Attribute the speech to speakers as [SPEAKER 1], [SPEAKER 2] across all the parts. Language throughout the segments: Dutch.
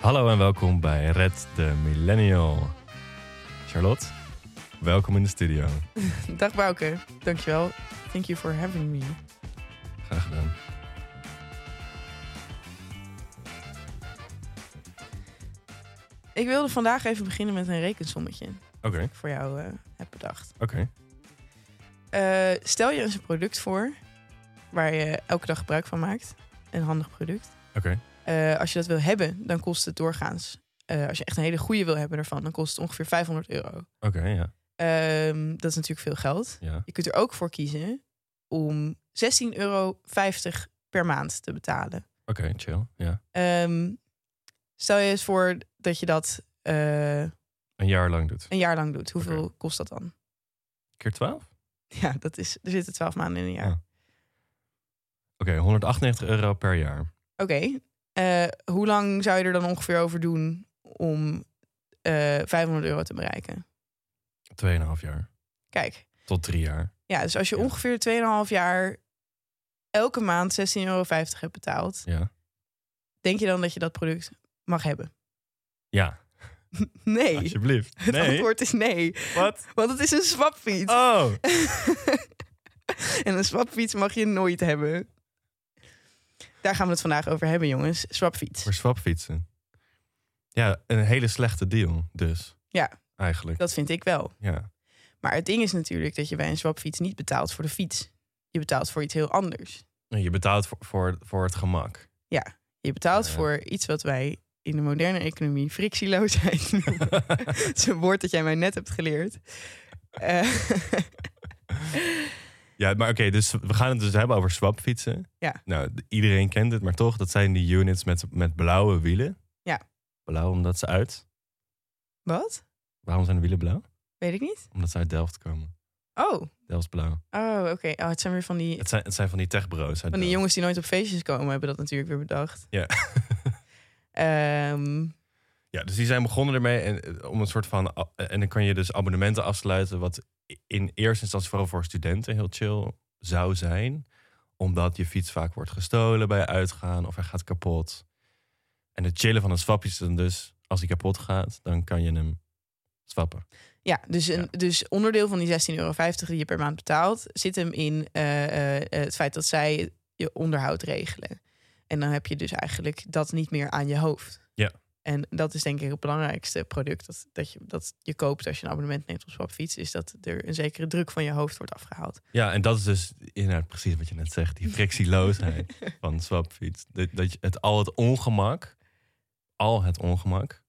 [SPEAKER 1] Hallo en welkom bij Red de Millennial. Charlotte, welkom in de studio.
[SPEAKER 2] Dag Bouke, dankjewel. Thank you for having me.
[SPEAKER 1] Graag gedaan.
[SPEAKER 2] Ik wilde vandaag even beginnen met een rekensommetje
[SPEAKER 1] Oké,
[SPEAKER 2] dat ik voor jou eh, heb bedacht.
[SPEAKER 1] oké.
[SPEAKER 2] Eh, stel je eens een product voor waar je elke dag gebruik van maakt. Een handig product.
[SPEAKER 1] Oké,
[SPEAKER 2] Eh, als je dat wil hebben, dan kost het doorgaans. eh, als je echt een hele goede wil hebben ervan, dan kost het ongeveer 500 euro.
[SPEAKER 1] oké, ja,
[SPEAKER 2] Ehm, dat is natuurlijk veel geld.
[SPEAKER 1] ja.
[SPEAKER 2] Je kunt er ook voor kiezen om 16,50 euro per maand te betalen.
[SPEAKER 1] Oké, chill, ja.
[SPEAKER 2] Ehm, stel je eens voor dat je dat eh,
[SPEAKER 1] Een jaar lang doet.
[SPEAKER 2] een jaar lang doet. Hoeveel
[SPEAKER 1] Oké.
[SPEAKER 2] kost dat dan?
[SPEAKER 1] Keer 12? Oké,
[SPEAKER 2] Ja, dat is, er zitten twaalf maanden in een jaar.
[SPEAKER 1] Ja. 198 euro per jaar.
[SPEAKER 2] Oké. eh, hoe lang zou je er dan ongeveer over doen om eh 500 euro te bereiken?
[SPEAKER 1] 2,5 jaar.
[SPEAKER 2] Kijk,
[SPEAKER 1] Tot 3 jaar.
[SPEAKER 2] ja, dus als je
[SPEAKER 1] Ja.
[SPEAKER 2] ongeveer 2,5 jaar elke maand 16,50 euro hebt betaald,
[SPEAKER 1] Ja.
[SPEAKER 2] denk je dan dat je dat product mag hebben?
[SPEAKER 1] Ja,
[SPEAKER 2] Nee.
[SPEAKER 1] alsjeblieft.
[SPEAKER 2] Het
[SPEAKER 1] Nee,
[SPEAKER 2] antwoord is nee,
[SPEAKER 1] wat?
[SPEAKER 2] want het is een swapfiets.
[SPEAKER 1] Oh,
[SPEAKER 2] en een swapfiets mag je nooit hebben. Daar gaan we het vandaag over hebben, jongens. Swapfiets.
[SPEAKER 1] voor swapfietsen. Ja, een hele slechte deal dus.
[SPEAKER 2] Ja.
[SPEAKER 1] Eigenlijk,
[SPEAKER 2] Dat vind ik wel.
[SPEAKER 1] ja.
[SPEAKER 2] Maar het ding is natuurlijk dat je bij een swapfiets niet betaalt voor de fiets. Je betaalt voor iets heel anders.
[SPEAKER 1] Je betaalt voor, voor, voor het gemak.
[SPEAKER 2] Je betaalt
[SPEAKER 1] Ja.
[SPEAKER 2] voor iets wat wij in de moderne economie frictieloosheid noemen. Het is een woord dat jij mij net hebt geleerd. Eh,
[SPEAKER 1] Ja, maar oké, dus we gaan het dus hebben over swapfietsen.
[SPEAKER 2] Ja.
[SPEAKER 1] Nou, d- iedereen kent het, maar toch, dat zijn die units met, met blauwe wielen.
[SPEAKER 2] Ja.
[SPEAKER 1] Blauw omdat ze uit.
[SPEAKER 2] wat?
[SPEAKER 1] Waarom zijn de wielen blauw?
[SPEAKER 2] Weet ik niet.
[SPEAKER 1] Omdat ze uit Delft komen.
[SPEAKER 2] Oh,
[SPEAKER 1] Delft blauw.
[SPEAKER 2] oh oké. Oh, het zijn weer van die,
[SPEAKER 1] Het zijn, het zijn van die techbureaus. uit
[SPEAKER 2] van die
[SPEAKER 1] Delft.
[SPEAKER 2] jongens die nooit op feestjes komen, hebben dat natuurlijk weer bedacht.
[SPEAKER 1] Ja.
[SPEAKER 2] Ehm,
[SPEAKER 1] Ja, dus die zijn begonnen ermee en, eh, om een soort van. a- En dan kan je dus abonnementen afsluiten. Wat in eerste instantie vooral voor studenten heel chill zou zijn. Omdat je fiets vaak wordt gestolen bij uitgaan of hij gaat kapot. En het chillen van een swap is dan dus, als hij kapot gaat, dan kan je hem swappen.
[SPEAKER 2] Ja, dus, een, dus onderdeel van die 16,50 euro die je per maand betaalt, zit hem in eh, eh, het feit dat zij je onderhoud regelen. En dan heb je dus eigenlijk dat niet meer aan je hoofd.
[SPEAKER 1] Ja.
[SPEAKER 2] En dat is denk ik het belangrijkste product dat, dat, je, dat je koopt als je een abonnement neemt op Swapfiets, is dat er een zekere druk van je hoofd wordt afgehaald.
[SPEAKER 1] Ja, en dat is dus inderdaad precies wat je net zegt. Die frictieloosheid van swapfiets. Dat, dat je het, al het ongemak, al het ongemak,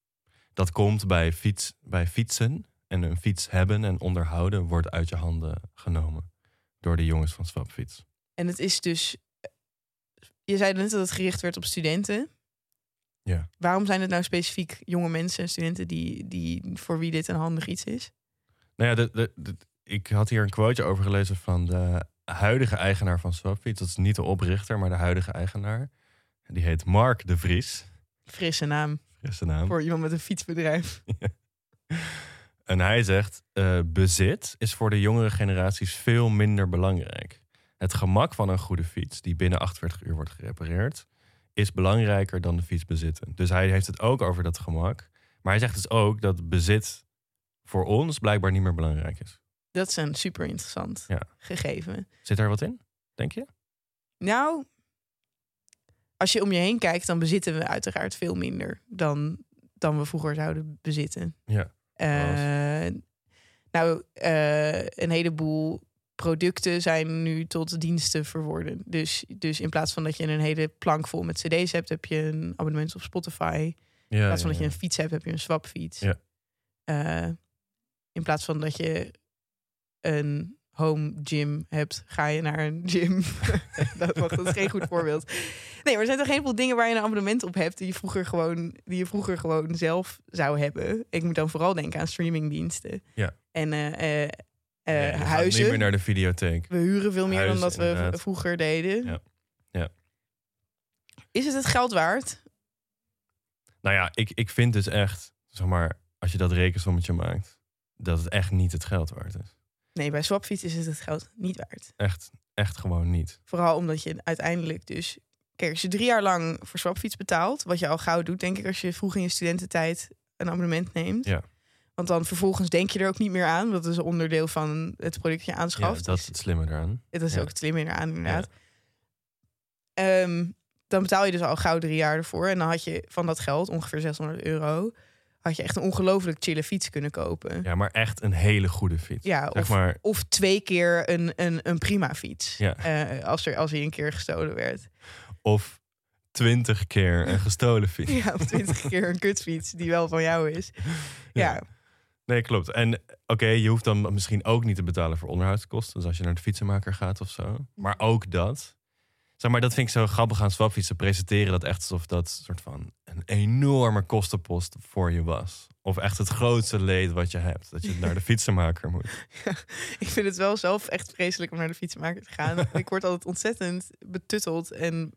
[SPEAKER 1] dat komt bij, fiets, bij fietsen. En een fiets hebben en onderhouden wordt uit je handen genomen. Door de jongens van swapfiets.
[SPEAKER 2] En het is dus, je zei net dat het gericht werd op studenten.
[SPEAKER 1] Ja.
[SPEAKER 2] Waarom zijn het nou specifiek jonge mensen en studenten die, die voor wie dit een handig iets is?
[SPEAKER 1] Nou ja, de, de, de- ik had hier een quoteje over gelezen van de huidige eigenaar van swapfiets. Dat is niet de oprichter, maar de huidige eigenaar. En Die heet Mark de Vries.
[SPEAKER 2] Frisse naam.
[SPEAKER 1] Frisse naam.
[SPEAKER 2] voor iemand met een fietsbedrijf.
[SPEAKER 1] En hij zegt, eh, bezit is voor de jongere generaties veel minder belangrijk. Het gemak van een goede fiets, die binnen 48 uur wordt gerepareerd, is belangrijker dan de fiets bezitten. Dus hij heeft het ook over dat gemak. Maar hij zegt dus ook dat bezit voor ons blijkbaar niet meer belangrijk is.
[SPEAKER 2] Dat is een super interessant
[SPEAKER 1] Ja.
[SPEAKER 2] gegeven.
[SPEAKER 1] Zit daar wat in, denk je?
[SPEAKER 2] Nou, als je om je heen kijkt, dan bezitten we uiteraard veel minder dan, dan we vroeger zouden bezitten.
[SPEAKER 1] Ja,
[SPEAKER 2] Eh, nou, eh, een heleboel producten zijn nu tot diensten verworden. Dus, dus in plaats van dat je een hele plank vol met cd's hebt, heb je een abonnement op Spotify.
[SPEAKER 1] Ja,
[SPEAKER 2] In plaats van dat je een fiets hebt, heb je een swapfiets.
[SPEAKER 1] Ja.
[SPEAKER 2] Eh, in plaats van dat je een home gym hebt, ga je naar een gym. dat, wacht, dat is geen goed voorbeeld. Nee, maar er zijn toch een heleboel dingen waar je een abonnement op hebt... die je vroeger gewoon, die je vroeger gewoon zelf zou hebben. Ik moet dan vooral denken aan streamingdiensten.
[SPEAKER 1] Ja.
[SPEAKER 2] En eh, eh, eh,
[SPEAKER 1] Nee, je gaat
[SPEAKER 2] huizen.
[SPEAKER 1] niet meer naar de videotheek.
[SPEAKER 2] We huren veel meer
[SPEAKER 1] Huizen,
[SPEAKER 2] dan dat we v-
[SPEAKER 1] inderdaad.
[SPEAKER 2] vroeger deden.
[SPEAKER 1] Ja. Ja.
[SPEAKER 2] Is het het geld waard?
[SPEAKER 1] Nou ja, ik, ik vind dus echt, zeg maar, als je dat rekensommetje maakt, dat het echt niet het geld waard is.
[SPEAKER 2] Nee, bij swapfiets is het het geld niet waard.
[SPEAKER 1] Echt, echt gewoon niet.
[SPEAKER 2] Vooral omdat je uiteindelijk dus Kijk, als je drie jaar lang voor swapfiets betaalt, wat je al gauw doet, denk ik, als je vroeg in je studententijd een abonnement neemt.
[SPEAKER 1] Ja.
[SPEAKER 2] Want dan vervolgens denk je er ook niet meer aan. want Dat is een onderdeel van het product dat je
[SPEAKER 1] Ja,
[SPEAKER 2] aanschaft.
[SPEAKER 1] dat is
[SPEAKER 2] Dus
[SPEAKER 1] het slimme eraan.
[SPEAKER 2] dat is
[SPEAKER 1] ja.
[SPEAKER 2] ook het slimme eraan, inderdaad. Ehm, dan betaal je dus al gauw drie jaar ervoor. En dan had je van dat geld, ongeveer 600 euro, had je echt een ongelooflijk chille fiets kunnen kopen.
[SPEAKER 1] Ja, maar echt een hele goede fiets.
[SPEAKER 2] Ja, of,
[SPEAKER 1] zeg maar,
[SPEAKER 2] of twee keer een, een, een prima fiets.
[SPEAKER 1] Ja.
[SPEAKER 2] Eh, als, er, als hij een keer gestolen werd.
[SPEAKER 1] of twintig keer een gestolen fiets.
[SPEAKER 2] Ja, of twintig keer een kutfiets die wel van jou is.
[SPEAKER 1] Ja.
[SPEAKER 2] Ja,
[SPEAKER 1] Nee, klopt. En oké, je hoeft dan misschien ook niet te betalen voor onderhoudskosten. Dus als je naar de fietsenmaker gaat of zo. Maar ook dat. Zeg maar, dat vind ik zo grappig aan swapfietsen. Presenteren dat echt alsof dat soort van een enorme kostenpost voor je was. Of echt het grootste leed wat je hebt. Dat je naar de fietsenmaker moet.
[SPEAKER 2] ik vind het wel zelf echt vreselijk om naar de fietsenmaker te gaan. ik word altijd ontzettend betutteld en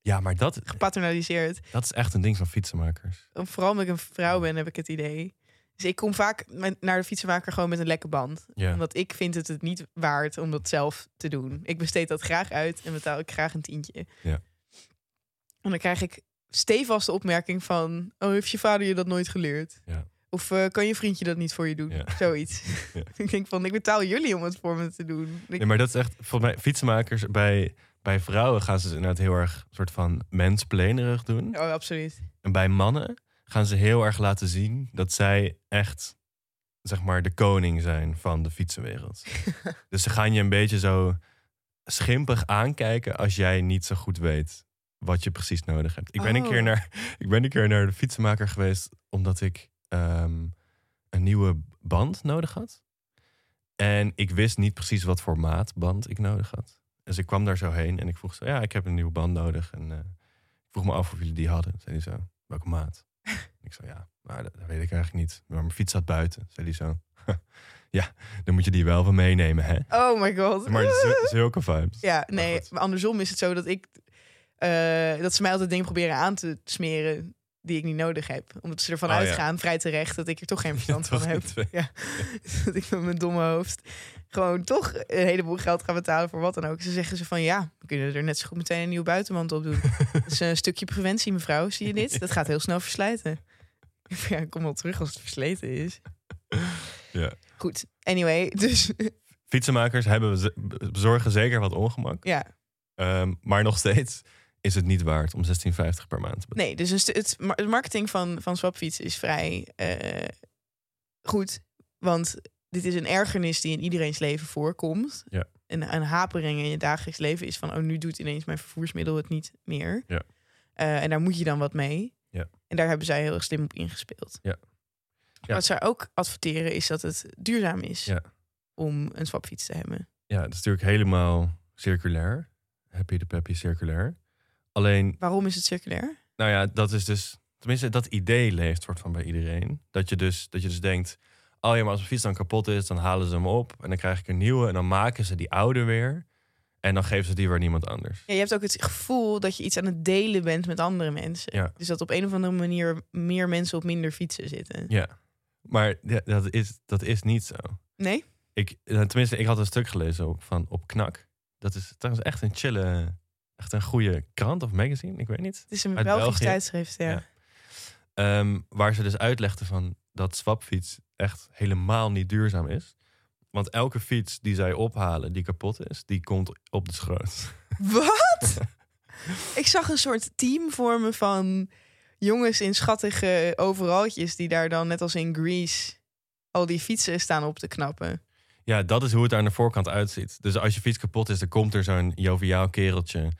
[SPEAKER 1] Ja, maar dat,
[SPEAKER 2] gepaternaliseerd.
[SPEAKER 1] dat is echt een ding van fietsenmakers.
[SPEAKER 2] En Vooral omdat ik een vrouw ben, heb ik het idee. Dus ik kom vaak met- naar de fietsenmaker gewoon met een lekke band.
[SPEAKER 1] Ja.
[SPEAKER 2] Omdat ik vind het het niet waard om dat zelf te doen. Ik besteed dat graag uit en betaal ik graag een tientje.
[SPEAKER 1] Ja.
[SPEAKER 2] En dan krijg ik stevast de opmerking van... Oh, heeft je vader je dat nooit geleerd?
[SPEAKER 1] Ja.
[SPEAKER 2] Of eh, kan je vriendje dat niet voor je doen?
[SPEAKER 1] Ja.
[SPEAKER 2] Zoiets.
[SPEAKER 1] Ja.
[SPEAKER 2] ik denk van, ik betaal jullie om het voor me te doen. Ik-
[SPEAKER 1] Nee, maar dat is echt, volgens mij, fietsenmakers bij, bij vrouwen gaan ze dus inderdaad heel erg soort van mensplenerig doen.
[SPEAKER 2] Oh, absoluut.
[SPEAKER 1] En bij mannen gaan ze heel erg laten zien dat zij echt, zeg maar, de koning zijn van de fietsenwereld. dus ze gaan je een beetje zo schimpig aankijken als jij niet zo goed weet wat je precies nodig hebt. Ik ben, een, keer
[SPEAKER 2] Oh.
[SPEAKER 1] naar, ik ben een keer naar de fietsenmaker geweest omdat ik ehm, een nieuwe band nodig had. En ik wist niet precies wat voor maat band ik nodig had. Dus ik kwam daar zo heen en ik vroeg zo, ja, ik heb een nieuwe band nodig. En eh, ik vroeg me af of jullie die hadden. Zei hij zo, welke maat? En ik zo, ja, maar dat, dat weet ik eigenlijk niet. Maar mijn fiets zat buiten. Zei hij zo, ja, dan moet je die wel van meenemen, hè?
[SPEAKER 2] Oh my god.
[SPEAKER 1] Maar z- zulke vibes.
[SPEAKER 2] Ja,
[SPEAKER 1] Maar
[SPEAKER 2] nee,
[SPEAKER 1] goed.
[SPEAKER 2] maar andersom is het zo dat ik eh, dat ze mij altijd dingen proberen aan te smeren die ik niet nodig heb. Omdat ze ervan
[SPEAKER 1] Oh, ja.
[SPEAKER 2] uitgaan, vrij terecht, dat ik er toch geen verstand
[SPEAKER 1] toch
[SPEAKER 2] van heb.
[SPEAKER 1] niet weet.
[SPEAKER 2] Ja. dat ik met mijn domme hoofd gewoon toch een heleboel geld ga betalen voor wat dan ook. Ze zeggen ze van ja, we kunnen er net zo goed meteen een nieuwe buitenwand op doen. Dat is een stukje preventie, mevrouw. Zie je dit? Dat gaat heel snel verslijten. Ja, ik kom wel terug als het versleten is.
[SPEAKER 1] Ja.
[SPEAKER 2] Goed, anyway, dus
[SPEAKER 1] Fietsenmakers hebben, ze- bezorgen zeker wat ongemak.
[SPEAKER 2] ja.
[SPEAKER 1] Ehm, maar nog steeds is het niet waard om 16,50 per maand te betalen.
[SPEAKER 2] Nee, dus een stu- het ma- het marketing van, van Swapfiets is vrij eh, goed. Want dit is een ergernis die in iedereen's leven voorkomt.
[SPEAKER 1] Ja.
[SPEAKER 2] Een, een hapering in je dagelijks leven is van... oh, nu doet ineens mijn vervoersmiddel het niet meer.
[SPEAKER 1] Ja.
[SPEAKER 2] Eh, en daar moet je dan wat mee.
[SPEAKER 1] Ja.
[SPEAKER 2] En daar hebben zij heel erg slim op ingespeeld.
[SPEAKER 1] Ja. Ja.
[SPEAKER 2] Wat zij ook adverteren is dat het duurzaam is...
[SPEAKER 1] Ja.
[SPEAKER 2] om een swapfiets te hebben.
[SPEAKER 1] Ja, dat is natuurlijk helemaal circulair. Happy de peppy circulair. Alleen
[SPEAKER 2] Waarom is het circulair?
[SPEAKER 1] Nou ja, dat is dus. Tenminste, dat idee leeft soort van bij iedereen. Dat je dus, dat je dus denkt. Oh ja, maar als mijn fiets dan kapot is, dan halen ze hem op. En dan krijg ik een nieuwe. En dan maken ze die oude weer. En dan geven ze die weer aan iemand anders.
[SPEAKER 2] Ja, je hebt ook het gevoel dat je iets aan het delen bent met andere mensen.
[SPEAKER 1] Ja.
[SPEAKER 2] Dus dat op een of andere manier meer mensen op minder fietsen zitten.
[SPEAKER 1] Ja. Maar ja, dat is, dat is niet zo.
[SPEAKER 2] Nee?
[SPEAKER 1] Ik, eh, tenminste, ik had een stuk gelezen op, van op Knak. Dat is trouwens echt een chille, echt een goede krant of magazine. Ik weet niet.
[SPEAKER 2] Het is een
[SPEAKER 1] Uit
[SPEAKER 2] Belgisch
[SPEAKER 1] België.
[SPEAKER 2] tijdschrift, ja.
[SPEAKER 1] Ja. Ehm, waar ze dus uitlegden van dat swapfiets echt helemaal niet duurzaam is. Want elke fiets die zij ophalen die kapot is, die komt op de schroot.
[SPEAKER 2] Wat? Ik zag een soort team vormen van jongens in schattige overaltjes... die daar dan, net als in Greece, al die fietsen staan op te knappen.
[SPEAKER 1] Ja, dat is hoe het er aan de voorkant uitziet. Dus als je fiets kapot is, dan komt er zo'n joviaal kereltje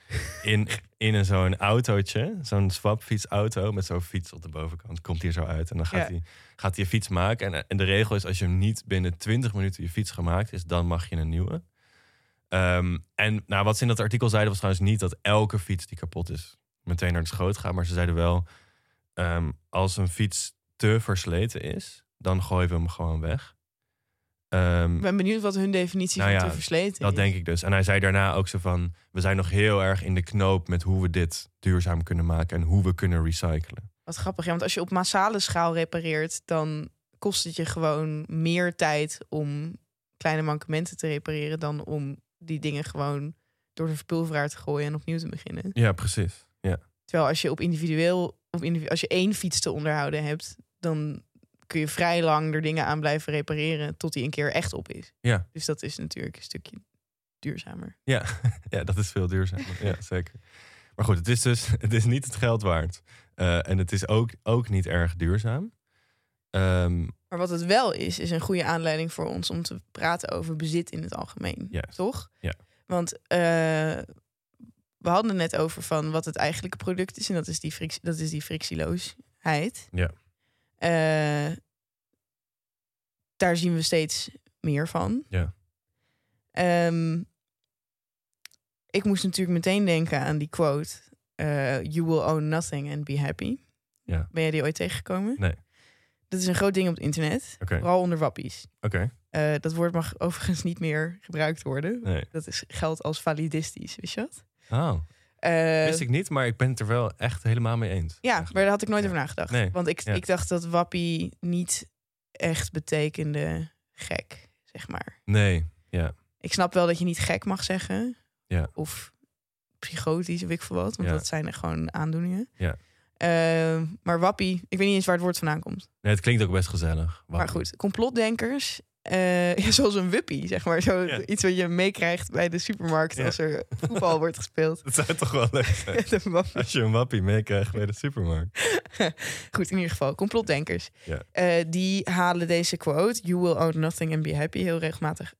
[SPEAKER 1] in, in een zo'n autootje. Zo'n swapfietsauto met zo'n fiets op de bovenkant. Komt hier zo uit en dan gaat
[SPEAKER 2] Ja.
[SPEAKER 1] hij gaat hij je fiets maken. En, en de regel is, als je hem niet binnen 20 minuten je fiets gemaakt is, dan mag je een nieuwe. Ehm, en nou, wat ze in dat artikel zeiden was trouwens niet dat elke fiets die kapot is meteen naar de schoot gaat. Maar ze zeiden wel, ehm, als een fiets te versleten is, dan gooien we hem gewoon weg. Ehm,
[SPEAKER 2] Ik ben benieuwd wat hun definitie
[SPEAKER 1] Nou
[SPEAKER 2] van
[SPEAKER 1] ja,
[SPEAKER 2] te versleten
[SPEAKER 1] dat
[SPEAKER 2] is.
[SPEAKER 1] denk ik dus. En hij zei daarna ook zo van, we zijn nog heel erg in de knoop met hoe we dit duurzaam kunnen maken en hoe we kunnen recyclen.
[SPEAKER 2] Wat grappig, ja, want als je op massale schaal repareert, dan kost het je gewoon meer tijd om kleine mankementen te repareren dan om die dingen gewoon door de verpulveraar te gooien en opnieuw te beginnen.
[SPEAKER 1] Ja, precies. Ja.
[SPEAKER 2] Terwijl als je op individueel, op individu- als je één fiets te onderhouden hebt, dan kun je vrij lang er dingen aan blijven repareren tot die een keer echt op is.
[SPEAKER 1] Ja.
[SPEAKER 2] Dus dat is natuurlijk een stukje duurzamer.
[SPEAKER 1] Ja, ja dat is veel duurzamer. Ja, zeker. Maar goed, het is dus het is niet het geld waard. Eh, en het is ook, ook niet erg duurzaam. Ehm,
[SPEAKER 2] Maar wat het wel is, is een goede aanleiding voor ons om te praten over bezit in het algemeen.
[SPEAKER 1] Ja.
[SPEAKER 2] Toch?
[SPEAKER 1] Ja.
[SPEAKER 2] Want eh, we hadden het net over van wat het eigenlijke product is. En dat is die, fric- dat is die frictieloosheid.
[SPEAKER 1] Ja.
[SPEAKER 2] Eh, daar zien we steeds meer van.
[SPEAKER 1] Ja.
[SPEAKER 2] Ehm, ik moest natuurlijk meteen denken aan die quote... eh, you will own nothing and be happy.
[SPEAKER 1] Ja.
[SPEAKER 2] Ben jij die ooit tegengekomen?
[SPEAKER 1] Nee.
[SPEAKER 2] Dat is een groot ding op het internet.
[SPEAKER 1] Oké,
[SPEAKER 2] Vooral onder wappies.
[SPEAKER 1] oké.
[SPEAKER 2] Eh, dat woord mag overigens niet meer gebruikt worden.
[SPEAKER 1] nee.
[SPEAKER 2] Dat is, geldt als validistisch, wist je dat?
[SPEAKER 1] Oh,
[SPEAKER 2] Eh,
[SPEAKER 1] wist ik niet, maar ik ben het er wel echt helemaal mee eens.
[SPEAKER 2] ja,
[SPEAKER 1] eigenlijk.
[SPEAKER 2] maar daar had ik nooit
[SPEAKER 1] Ja.
[SPEAKER 2] over nagedacht.
[SPEAKER 1] Nee,
[SPEAKER 2] Want ik,
[SPEAKER 1] ja.
[SPEAKER 2] ik dacht dat wappie niet echt betekende gek, zeg maar.
[SPEAKER 1] Nee,
[SPEAKER 2] Ik snap wel dat je niet gek mag zeggen.
[SPEAKER 1] Ja.
[SPEAKER 2] Of psychotisch, of ik veel wat. Want
[SPEAKER 1] Ja.
[SPEAKER 2] dat zijn er gewoon aandoeningen.
[SPEAKER 1] Ja.
[SPEAKER 2] Eh, maar wappie, ik weet niet eens waar het woord vandaan komt.
[SPEAKER 1] nee, het klinkt ook best gezellig.
[SPEAKER 2] Maar goed, complotdenkers. eh, ja, zoals een wuppie, zeg maar. Zo
[SPEAKER 1] Ja.
[SPEAKER 2] Iets wat je meekrijgt bij de supermarkt
[SPEAKER 1] Ja.
[SPEAKER 2] als er voetbal wordt gespeeld.
[SPEAKER 1] Het zou toch wel leuk zijn
[SPEAKER 2] De wappie.
[SPEAKER 1] als je een wappie meekrijgt bij de supermarkt.
[SPEAKER 2] Goed, in ieder geval, complotdenkers.
[SPEAKER 1] Ja.
[SPEAKER 2] Eh, die halen deze quote, you will own nothing and be happy, heel regelmatig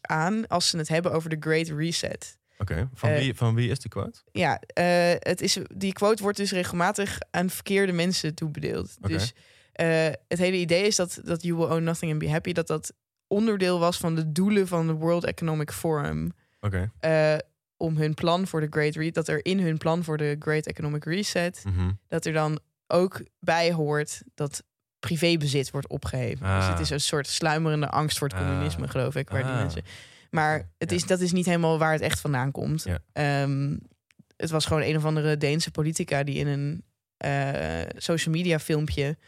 [SPEAKER 2] aan. Als ze het hebben over de Great Reset.
[SPEAKER 1] Oké, van,
[SPEAKER 2] Eh.
[SPEAKER 1] wie, van wie is de quote?
[SPEAKER 2] ja, eh, het is, die quote wordt dus regelmatig aan verkeerde mensen toebedeeld.
[SPEAKER 1] Oké.
[SPEAKER 2] Dus eh, het hele idee is dat, dat You Will Own Nothing and Be Happy... dat dat onderdeel was van de doelen van de World Economic Forum...
[SPEAKER 1] Oké,
[SPEAKER 2] eh, om hun plan voor de Great Reset... dat er in hun plan voor de Great Economic Reset...
[SPEAKER 1] mhm.
[SPEAKER 2] dat er dan ook bij hoort dat privébezit wordt opgeheven. Dus
[SPEAKER 1] Ah.
[SPEAKER 2] het is een soort sluimerende angst voor het
[SPEAKER 1] Ah.
[SPEAKER 2] communisme, geloof ik, waar die
[SPEAKER 1] Ah.
[SPEAKER 2] mensen... Maar
[SPEAKER 1] Oké,
[SPEAKER 2] het
[SPEAKER 1] ja.
[SPEAKER 2] is, dat is niet helemaal waar het echt vandaan komt.
[SPEAKER 1] Ja.
[SPEAKER 2] Ehm, het was gewoon een of andere Deense politica die in een eh, social media filmpje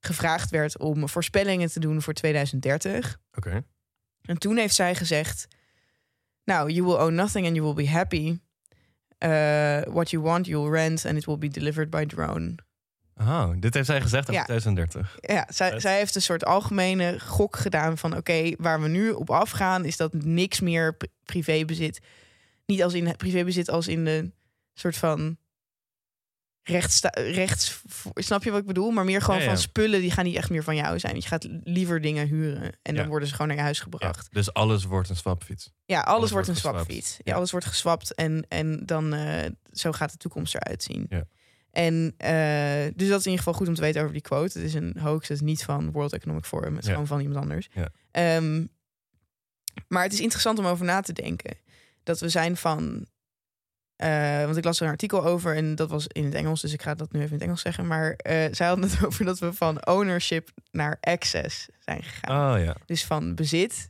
[SPEAKER 2] gevraagd werd om voorspellingen te doen voor 2030.
[SPEAKER 1] oké.
[SPEAKER 2] En toen heeft zij gezegd: Nou, you will own nothing and you will be happy. Eh, what you want, you will rent and it will be delivered by drone.
[SPEAKER 1] Oh, dit heeft zij gezegd over
[SPEAKER 2] Ja.
[SPEAKER 1] 2030.
[SPEAKER 2] Ja, zij,
[SPEAKER 1] Vet.
[SPEAKER 2] zij heeft een soort algemene gok gedaan van... oké, waar we nu op afgaan is dat niks meer pri- privébezit... niet als in het privébezit als in de soort van... Rechts, rechts, snap je wat ik bedoel? Maar meer gewoon
[SPEAKER 1] Ja,
[SPEAKER 2] van
[SPEAKER 1] ja.
[SPEAKER 2] spullen die gaan niet echt meer van jou zijn. Je gaat liever dingen huren en dan
[SPEAKER 1] Ja.
[SPEAKER 2] worden ze gewoon naar je huis gebracht.
[SPEAKER 1] Dus alles wordt een swapfiets.
[SPEAKER 2] Ja, alles,
[SPEAKER 1] Alles
[SPEAKER 2] wordt
[SPEAKER 1] wordt
[SPEAKER 2] een
[SPEAKER 1] geswapt.
[SPEAKER 2] swapfiets. Ja,
[SPEAKER 1] Ja.
[SPEAKER 2] alles wordt geswapt en, en dan eh, zo gaat de toekomst eruit zien.
[SPEAKER 1] Ja.
[SPEAKER 2] En eh, dus dat is in ieder geval goed om te weten over die quote. Het is een hoax, het is niet van World Economic Forum, het is
[SPEAKER 1] Ja.
[SPEAKER 2] gewoon van iemand anders.
[SPEAKER 1] Ja.
[SPEAKER 2] Ehm, maar het is interessant om over na te denken. Dat we zijn van. eh, want ik las er een artikel over en dat was in het Engels, dus ik ga dat nu even in het Engels zeggen. Maar eh, zij hadden het over dat we van ownership naar access zijn gegaan.
[SPEAKER 1] Oh ja.
[SPEAKER 2] Dus van bezit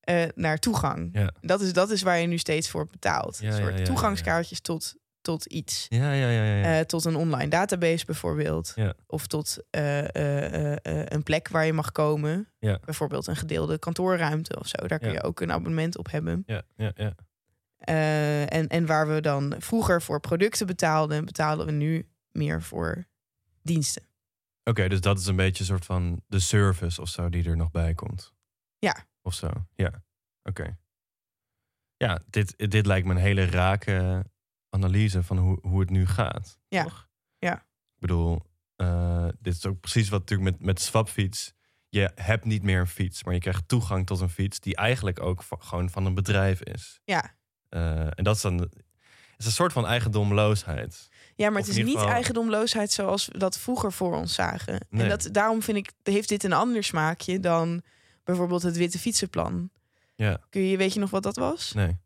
[SPEAKER 2] eh, naar toegang.
[SPEAKER 1] Ja.
[SPEAKER 2] Dat, is, dat is waar je nu steeds voor betaalt.
[SPEAKER 1] Ja,
[SPEAKER 2] een
[SPEAKER 1] ja,
[SPEAKER 2] soort
[SPEAKER 1] ja, ja, ja.
[SPEAKER 2] toegangskaartjes Tot, tot iets.
[SPEAKER 1] Ja, ja, ja, ja. ja.
[SPEAKER 2] Eh, tot een online database bijvoorbeeld.
[SPEAKER 1] Ja.
[SPEAKER 2] Of tot eh, eh, eh, eh, een plek waar je mag komen.
[SPEAKER 1] Ja.
[SPEAKER 2] Bijvoorbeeld een gedeelde kantoorruimte of zo. Daar kun
[SPEAKER 1] Ja.
[SPEAKER 2] je ook een abonnement op hebben.
[SPEAKER 1] ja, ja, ja.
[SPEAKER 2] Eh, en, en waar we dan vroeger voor producten betaalden, betalen we nu meer voor diensten.
[SPEAKER 1] Oké, dus dat is een beetje een soort van de service of zo die er nog bij komt.
[SPEAKER 2] Ja.
[SPEAKER 1] Of zo, ja. Oké. Ja, dit, dit lijkt me een hele rake analyse van hoe, hoe het nu gaat.
[SPEAKER 2] Ja.
[SPEAKER 1] Toch?
[SPEAKER 2] Ja.
[SPEAKER 1] Ik bedoel, eh, dit is ook precies wat natuurlijk met, met swapfiets. Je hebt niet meer een fiets, maar je krijgt toegang tot een fiets die eigenlijk ook va- gewoon van een bedrijf is.
[SPEAKER 2] Ja.
[SPEAKER 1] Eh, en dat is dan het is een soort van eigendomloosheid.
[SPEAKER 2] Ja, maar
[SPEAKER 1] Of
[SPEAKER 2] het is
[SPEAKER 1] in
[SPEAKER 2] niet
[SPEAKER 1] ieder geval-
[SPEAKER 2] eigendomloosheid zoals we dat vroeger voor ons zagen. En
[SPEAKER 1] Nee.
[SPEAKER 2] dat, daarom vind ik, heeft dit een ander smaakje dan bijvoorbeeld het witte fietsenplan.
[SPEAKER 1] Ja.
[SPEAKER 2] Kun je, weet je nog wat dat was?
[SPEAKER 1] Nee.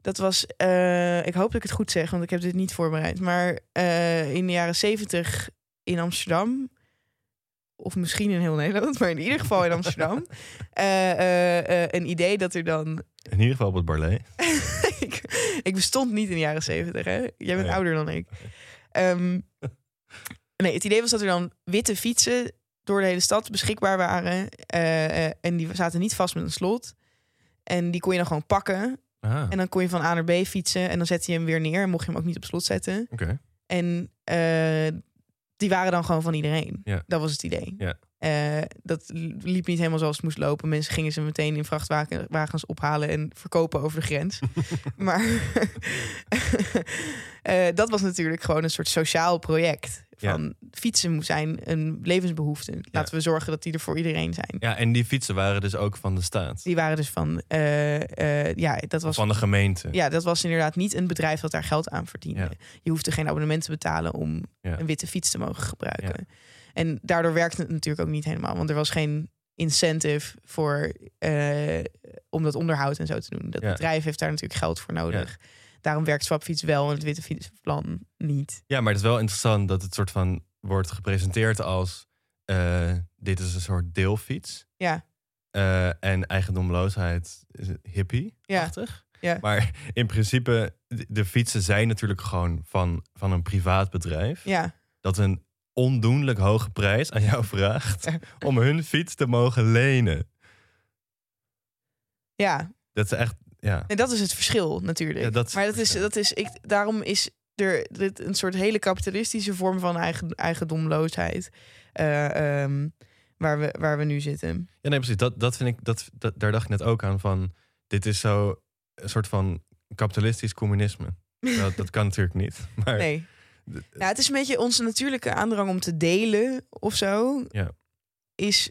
[SPEAKER 2] Dat was, eh, ik hoop dat ik het goed zeg, want ik heb dit niet voorbereid. Maar eh, in de jaren zeventig in Amsterdam, of misschien in heel Nederland, maar in ieder geval in Amsterdam, eh, eh, eh, een idee dat er dan
[SPEAKER 1] In ieder geval op het barlet.
[SPEAKER 2] ik, ik bestond niet in de jaren zeventig, hè? Jij bent
[SPEAKER 1] Nee.
[SPEAKER 2] ouder dan ik. Ehm, nee, het idee was dat er dan witte fietsen door de hele stad beschikbaar waren. eh, eh, en die zaten niet vast met een slot. En die kon je dan gewoon pakken.
[SPEAKER 1] Ah,
[SPEAKER 2] En dan kon je van A naar B fietsen en dan zette je hem weer neer en mocht je hem ook niet op slot zetten.
[SPEAKER 1] oké.
[SPEAKER 2] En eh, die waren dan gewoon van iedereen.
[SPEAKER 1] Ja.
[SPEAKER 2] Dat was het idee.
[SPEAKER 1] Ja.
[SPEAKER 2] Eh, dat liep niet helemaal zoals het moest lopen. Mensen gingen ze meteen in vrachtwagens ophalen en verkopen over de grens. maar eh, dat was natuurlijk gewoon een soort sociaal project.
[SPEAKER 1] Ja.
[SPEAKER 2] Van fietsen moet zijn een levensbehoefte. Laten we zorgen dat die er voor iedereen zijn.
[SPEAKER 1] Ja, en die fietsen waren dus ook van de staat.
[SPEAKER 2] Die waren dus van, eh, eh, ja, dat was
[SPEAKER 1] Van de gemeente.
[SPEAKER 2] ja, dat was inderdaad niet een bedrijf dat daar geld aan verdiende.
[SPEAKER 1] Ja.
[SPEAKER 2] Je hoefde geen abonnement te betalen om
[SPEAKER 1] Ja.
[SPEAKER 2] een witte fiets te mogen gebruiken. En daardoor werkte het natuurlijk ook niet helemaal, want er was geen incentive voor eh, om dat onderhoud en zo te doen. Dat
[SPEAKER 1] Ja.
[SPEAKER 2] bedrijf heeft daar natuurlijk geld voor nodig. Daarom werkt Swapfiets wel en het witte fietsplan niet.
[SPEAKER 1] Ja, maar het is wel interessant dat het soort van wordt gepresenteerd als eh, dit is een soort deelfiets.
[SPEAKER 2] Ja.
[SPEAKER 1] Eh, en eigendomloosheid is hippie-achtig.
[SPEAKER 2] Ja.
[SPEAKER 1] Maar in principe, de de fietsen zijn natuurlijk gewoon van, van een privaat bedrijf.
[SPEAKER 2] Ja,
[SPEAKER 1] Dat een ondoenlijk hoge prijs aan jou vraagt
[SPEAKER 2] Ja.
[SPEAKER 1] om hun fiets te mogen lenen.
[SPEAKER 2] ja.
[SPEAKER 1] Dat is echt, ja.
[SPEAKER 2] En dat is het verschil natuurlijk.
[SPEAKER 1] Ja, dat is
[SPEAKER 2] maar dat
[SPEAKER 1] het
[SPEAKER 2] is,
[SPEAKER 1] verschil.
[SPEAKER 2] dat is ik, daarom is er dit een soort hele kapitalistische vorm van eigen, eigendomloosheid. eh, ehm, waar, we, waar we nu zitten.
[SPEAKER 1] Ja, nee, precies. Dat, dat vind ik, dat, dat, daar dacht ik net ook aan van, dit is zo een soort van kapitalistisch communisme. Nou, Dat, dat kan natuurlijk niet. Maar
[SPEAKER 2] Nee. Ja, het is een beetje onze natuurlijke aandrang om te delen of zo.
[SPEAKER 1] Ja.
[SPEAKER 2] Is,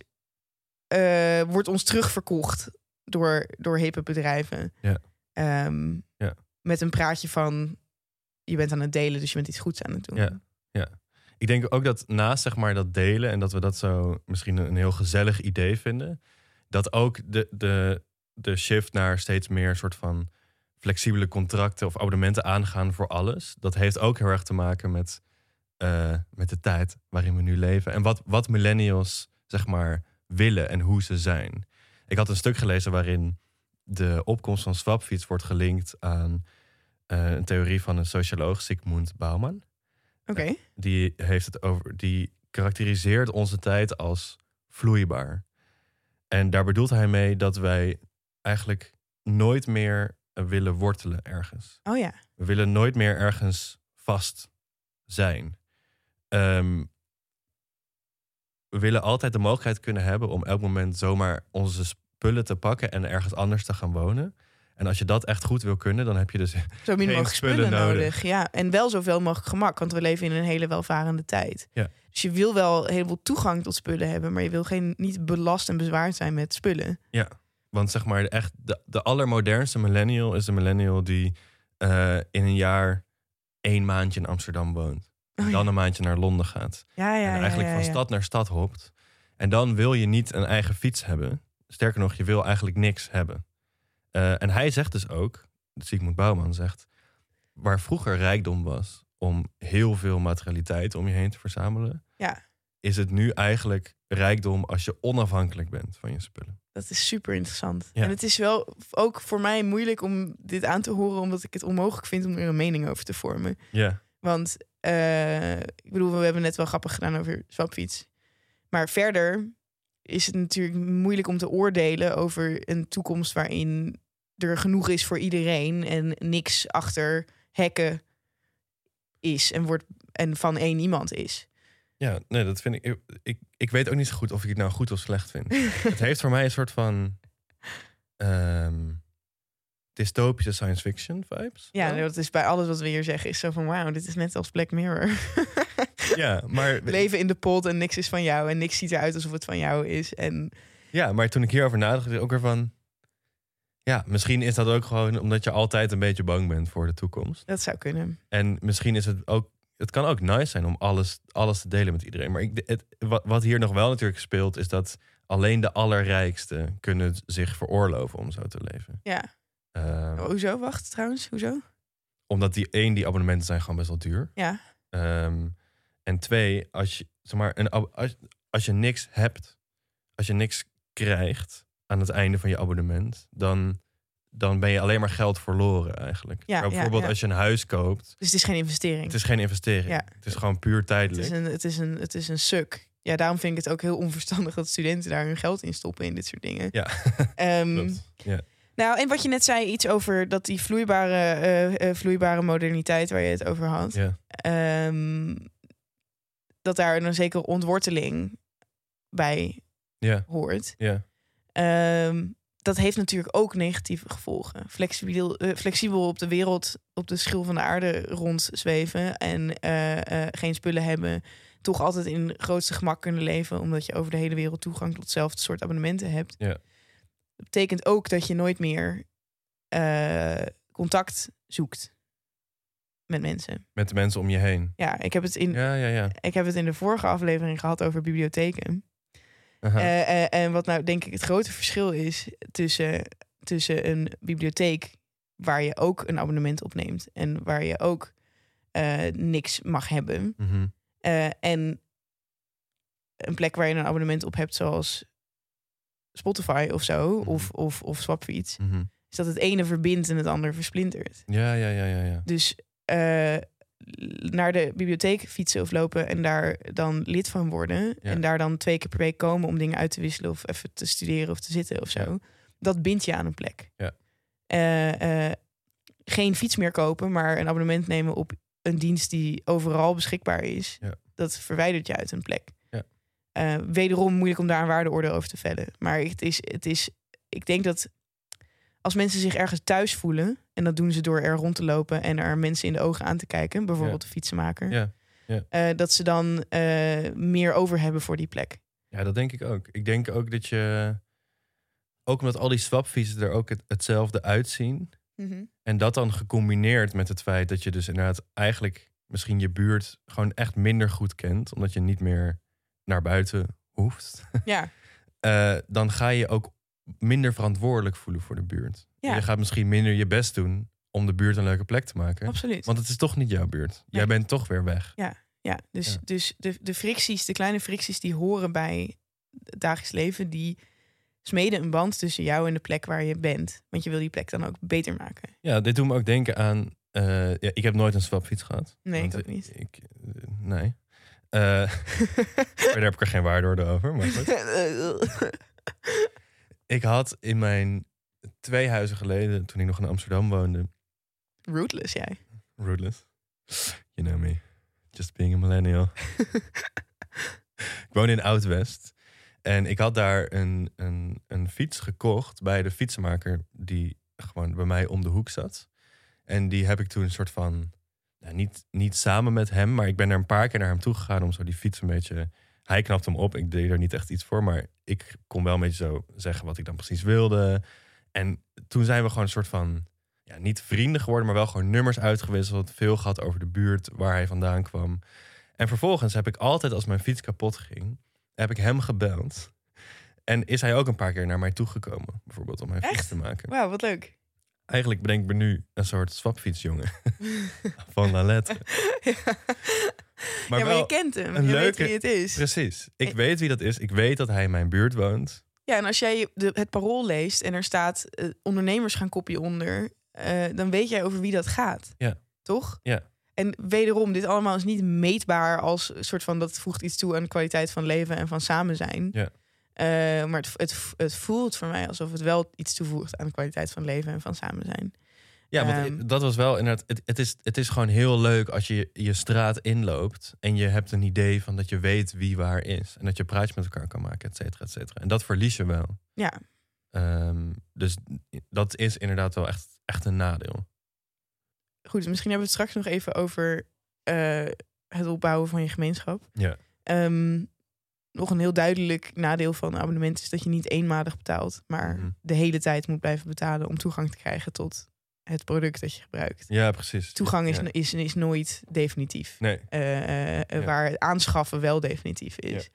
[SPEAKER 2] eh, wordt ons terugverkocht door, door hippe bedrijven.
[SPEAKER 1] Ja.
[SPEAKER 2] Ehm,
[SPEAKER 1] Ja.
[SPEAKER 2] Met een praatje van je bent aan het delen, dus je bent iets goeds aan het doen.
[SPEAKER 1] Ja. Ik denk ook dat naast zeg maar, dat delen en dat we dat zo misschien een heel gezellig idee vinden, dat ook de, de, de shift naar steeds meer soort van flexibele contracten of abonnementen aangaan voor alles, dat heeft ook heel erg te maken met, eh, met de tijd waarin we nu leven en wat, wat millennials zeg maar willen en hoe ze zijn. Ik had een stuk gelezen waarin de opkomst van Swapfiets wordt gelinkt aan eh, een theorie van een socioloog, Sigmund Bauman
[SPEAKER 2] Oké.
[SPEAKER 1] die heeft het over. Die karakteriseert onze tijd als vloeibaar. En daar bedoelt hij mee dat wij eigenlijk nooit meer eh, willen wortelen ergens.
[SPEAKER 2] Oh ja.
[SPEAKER 1] We willen nooit meer ergens vast zijn. Ehm, we willen altijd de mogelijkheid kunnen hebben om elk moment zomaar onze spullen te pakken en ergens anders te gaan wonen. En als je dat echt goed wil kunnen, dan heb je dus
[SPEAKER 2] Zo min
[SPEAKER 1] Geen
[SPEAKER 2] mogelijk spullen,
[SPEAKER 1] spullen
[SPEAKER 2] nodig.
[SPEAKER 1] nodig.
[SPEAKER 2] Ja, en wel zoveel mogelijk gemak, want we leven in een hele welvarende tijd.
[SPEAKER 1] Ja.
[SPEAKER 2] Dus je wil wel een heleboel toegang tot spullen hebben, maar je wil geen, niet belast en bezwaard zijn met spullen.
[SPEAKER 1] Want zeg maar, echt de, de allermodernste millennial is de millennial die eh, in een jaar één maandje in Amsterdam woont.
[SPEAKER 2] Oh
[SPEAKER 1] En
[SPEAKER 2] ja.
[SPEAKER 1] dan een maandje naar Londen gaat.
[SPEAKER 2] Ja, ja,
[SPEAKER 1] en
[SPEAKER 2] ja,
[SPEAKER 1] eigenlijk
[SPEAKER 2] ja,
[SPEAKER 1] van
[SPEAKER 2] ja.
[SPEAKER 1] stad naar stad hopt. En dan wil je niet een eigen fiets hebben. Sterker nog, je wil eigenlijk niks hebben. Eh, en hij zegt dus ook, Sigmund Bouwman zegt, waar vroeger rijkdom was om heel veel materialiteit om je heen te verzamelen,
[SPEAKER 2] Ja.
[SPEAKER 1] is het nu eigenlijk rijkdom als je onafhankelijk bent van je spullen.
[SPEAKER 2] Dat is super interessant.
[SPEAKER 1] Ja.
[SPEAKER 2] En het is wel ook voor mij moeilijk om dit aan te horen, omdat ik het onmogelijk vind om er een mening over te vormen.
[SPEAKER 1] Ja.
[SPEAKER 2] Want eh, ik bedoel, we hebben net wel grappig gedaan over swapfiets. Maar verder is het natuurlijk moeilijk om te oordelen over een toekomst waarin er genoeg is voor iedereen en niks achter hekken is en, wordt, en van één iemand is.
[SPEAKER 1] Ja, nee, dat vind ik, ik. Ik weet ook niet zo goed of ik het nou goed of slecht vind. het heeft voor mij een soort van. ehm, dystopische science fiction vibes.
[SPEAKER 2] Ja, dat is bij alles wat we hier zeggen, is zo van wauw, dit is net als Black Mirror.
[SPEAKER 1] ja, maar,
[SPEAKER 2] Leven in de pot en niks is van jou en niks ziet eruit alsof het van jou is. En
[SPEAKER 1] ja, maar toen ik hierover nadacht, dacht ik ook weer van. Ja, misschien is dat ook gewoon omdat je altijd een beetje bang bent voor de toekomst.
[SPEAKER 2] dat zou kunnen.
[SPEAKER 1] En misschien is het ook. Het kan ook nice zijn om alles, alles te delen met iedereen. Maar ik, het, wat, wat hier nog wel natuurlijk speelt, is dat alleen de allerrijksten kunnen zich veroorloven om zo te leven.
[SPEAKER 2] Ja.
[SPEAKER 1] Ehm,
[SPEAKER 2] Oh, Hoezo? Wacht trouwens, hoezo?
[SPEAKER 1] Omdat die één, die abonnementen zijn gewoon best wel duur.
[SPEAKER 2] Ja.
[SPEAKER 1] Ehm, en twee, als je, zeg maar, een, ab- als, als je niks hebt, als je niks krijgt aan het einde van je abonnement, dan, dan ben je alleen maar geld verloren eigenlijk.
[SPEAKER 2] Ja,
[SPEAKER 1] Maar
[SPEAKER 2] ja,
[SPEAKER 1] bijvoorbeeld
[SPEAKER 2] ja.
[SPEAKER 1] als je een huis koopt,
[SPEAKER 2] Dus het is geen investering.
[SPEAKER 1] het is geen investering.
[SPEAKER 2] Ja.
[SPEAKER 1] Het is gewoon puur
[SPEAKER 2] Het is
[SPEAKER 1] tijdelijk.
[SPEAKER 2] een, het is een, het is een suk. Ja, daarom vind ik het ook heel onverstandig dat studenten daar hun geld in stoppen in dit soort dingen.
[SPEAKER 1] Ja,
[SPEAKER 2] Ehm,
[SPEAKER 1] klopt. Ja.
[SPEAKER 2] Nou, en wat je net zei, iets over dat die vloeibare, eh, eh, vloeibare moderniteit waar je het over had.
[SPEAKER 1] Ja.
[SPEAKER 2] ehm, dat daar een zekere ontworteling bij
[SPEAKER 1] Ja,
[SPEAKER 2] hoort.
[SPEAKER 1] ja.
[SPEAKER 2] Ehm, dat heeft natuurlijk ook negatieve gevolgen. Flexibel, eh, flexibel op de wereld, op de schil van de aarde rondzweven en eh, eh, geen spullen hebben. Toch altijd in grootste gemak kunnen leven, omdat je over de hele wereld toegang tot hetzelfde soort abonnementen hebt.
[SPEAKER 1] Ja.
[SPEAKER 2] Dat betekent ook dat je nooit meer eh, contact zoekt met mensen.
[SPEAKER 1] Met de mensen om je heen.
[SPEAKER 2] Ja, ik heb het in,
[SPEAKER 1] Ja, ja, ja.
[SPEAKER 2] ik heb het in de vorige aflevering gehad over bibliotheken.
[SPEAKER 1] Aha.
[SPEAKER 2] Eh, eh, en wat nou denk ik het grote verschil is tussen, tussen een bibliotheek waar je ook een abonnement opneemt en waar je ook eh, niks mag hebben.
[SPEAKER 1] Mhm.
[SPEAKER 2] Eh, en een plek waar je een abonnement op hebt, zoals Spotify of zo,
[SPEAKER 1] Mhm.
[SPEAKER 2] of, of, of Swapfiets,
[SPEAKER 1] Mhm.
[SPEAKER 2] is dat het ene verbindt en het ander versplintert.
[SPEAKER 1] Ja, ja, ja, ja, ja.
[SPEAKER 2] Dus eh, naar de bibliotheek fietsen of lopen en daar dan lid van worden. En daar dan twee keer per week komen om dingen uit te wisselen of even te studeren of te zitten of zo.
[SPEAKER 1] Ja.
[SPEAKER 2] Dat bindt je aan een plek.
[SPEAKER 1] Ja.
[SPEAKER 2] Eh, eh, geen fiets meer kopen, maar een abonnement nemen op een dienst die overal beschikbaar is.
[SPEAKER 1] Ja.
[SPEAKER 2] Dat verwijdert je uit een plek.
[SPEAKER 1] Ja.
[SPEAKER 2] Eh, wederom moeilijk om daar een waardeoordeel over te vellen. Maar het is, het is, ik denk dat als mensen zich ergens thuis voelen, en dat doen ze door er rond te lopen en er mensen in de ogen aan te kijken, bijvoorbeeld de fietsenmaker,
[SPEAKER 1] Ja, ja.
[SPEAKER 2] eh, dat ze dan eh, meer over hebben voor die plek.
[SPEAKER 1] Ja, dat denk ik ook. Ik denk ook dat je... Ook omdat al die swapfietsen er ook het- hetzelfde uitzien. En dat dan gecombineerd met het feit dat je dus inderdaad eigenlijk misschien je buurt gewoon echt minder goed kent. Omdat je niet meer naar buiten hoeft.
[SPEAKER 2] Ja,
[SPEAKER 1] eh, dan ga je ook minder verantwoordelijk voelen voor de buurt.
[SPEAKER 2] Ja.
[SPEAKER 1] En Je gaat misschien minder je best doen om de buurt een leuke plek te maken.
[SPEAKER 2] absoluut.
[SPEAKER 1] Want het is toch niet jouw buurt. Jij
[SPEAKER 2] Nee.
[SPEAKER 1] bent toch weer weg.
[SPEAKER 2] Ja, dus,
[SPEAKER 1] Ja.
[SPEAKER 2] dus de, de fricties, de kleine fricties die horen bij het dagelijks leven, die smeden een band tussen jou en de plek waar je bent. Want je wil die plek dan ook beter maken.
[SPEAKER 1] Ja, dit doet me ook denken aan... eh, ja, ik heb nooit een swapfiets gehad.
[SPEAKER 2] Nee,
[SPEAKER 1] Want
[SPEAKER 2] ik ook
[SPEAKER 1] ik-
[SPEAKER 2] niet.
[SPEAKER 1] ik- eh, nee. Eh, maar daar heb ik er geen waarde over. Maar goed. Ik had in mijn twee huizen geleden, toen ik nog in Amsterdam woonde,
[SPEAKER 2] Rootless jij.
[SPEAKER 1] Rootless. You know me. Just being a millennial. ik woon in Oud-West. En ik had daar een, een, een fiets gekocht bij de fietsenmaker die gewoon bij mij om de hoek zat. En die heb ik toen een soort van, nou, niet, niet samen met hem, maar ik ben er een paar keer naar hem toe gegaan om zo die fiets een beetje... Hij knapte hem op, ik deed er niet echt iets voor, maar ik kon wel een beetje zo zeggen wat ik dan precies wilde. En toen zijn we gewoon een soort van ja, niet vrienden geworden, maar wel gewoon nummers uitgewisseld. Veel gehad over de buurt waar hij vandaan kwam. En vervolgens heb ik altijd als mijn fiets kapot ging, heb ik hem gebeld. En is hij ook een paar keer naar mij toegekomen, bijvoorbeeld om mijn fiets
[SPEAKER 2] Echt?
[SPEAKER 1] te maken.
[SPEAKER 2] Wauw, wat leuk.
[SPEAKER 1] Eigenlijk bedenk ik me nu een soort swapfietsjongen van La Lettre.
[SPEAKER 2] ja,
[SPEAKER 1] Maar,
[SPEAKER 2] maar
[SPEAKER 1] wel,
[SPEAKER 2] je kent Eh. hem.
[SPEAKER 1] een
[SPEAKER 2] je weet
[SPEAKER 1] leuke-
[SPEAKER 2] wie het is.
[SPEAKER 1] precies. Ik weet wie dat is. Ik weet dat hij in mijn buurt woont.
[SPEAKER 2] Ja, en als jij de, het parool leest en er staat eh, ondernemers gaan kopje onder, eh, dan weet jij over wie dat gaat.
[SPEAKER 1] Ja.
[SPEAKER 2] Toch?
[SPEAKER 1] Ja.
[SPEAKER 2] En wederom, dit allemaal is niet meetbaar als een soort van dat voegt iets toe aan de kwaliteit van leven en van samen zijn.
[SPEAKER 1] Ja.
[SPEAKER 2] Eh, maar het, het, het voelt voor mij alsof het wel iets toevoegt aan de kwaliteit van leven en van samen zijn.
[SPEAKER 1] Ja, want
[SPEAKER 2] Ehm.
[SPEAKER 1] dat was wel inderdaad. Het, het, is, het is gewoon heel leuk als je je straat inloopt. en je hebt een idee van dat je weet wie waar is. En dat je praatjes met elkaar kan maken, et cetera, et cetera. En dat verlies je wel.
[SPEAKER 2] Ja.
[SPEAKER 1] Ehm, dus dat is inderdaad wel echt, echt een nadeel.
[SPEAKER 2] goed, dus misschien hebben we het straks nog even over eh, het opbouwen van je gemeenschap.
[SPEAKER 1] Ja.
[SPEAKER 2] Ehm, nog een heel duidelijk nadeel van een abonnement is dat je niet eenmalig betaalt, maar
[SPEAKER 1] Mhm.
[SPEAKER 2] de hele tijd moet blijven betalen om toegang te krijgen tot het product dat je gebruikt.
[SPEAKER 1] Ja, precies.
[SPEAKER 2] Toegang is,
[SPEAKER 1] Ja.
[SPEAKER 2] is, is nooit definitief.
[SPEAKER 1] Nee.
[SPEAKER 2] Eh, eh, eh,
[SPEAKER 1] Ja.
[SPEAKER 2] Waar het aanschaffen wel definitief is.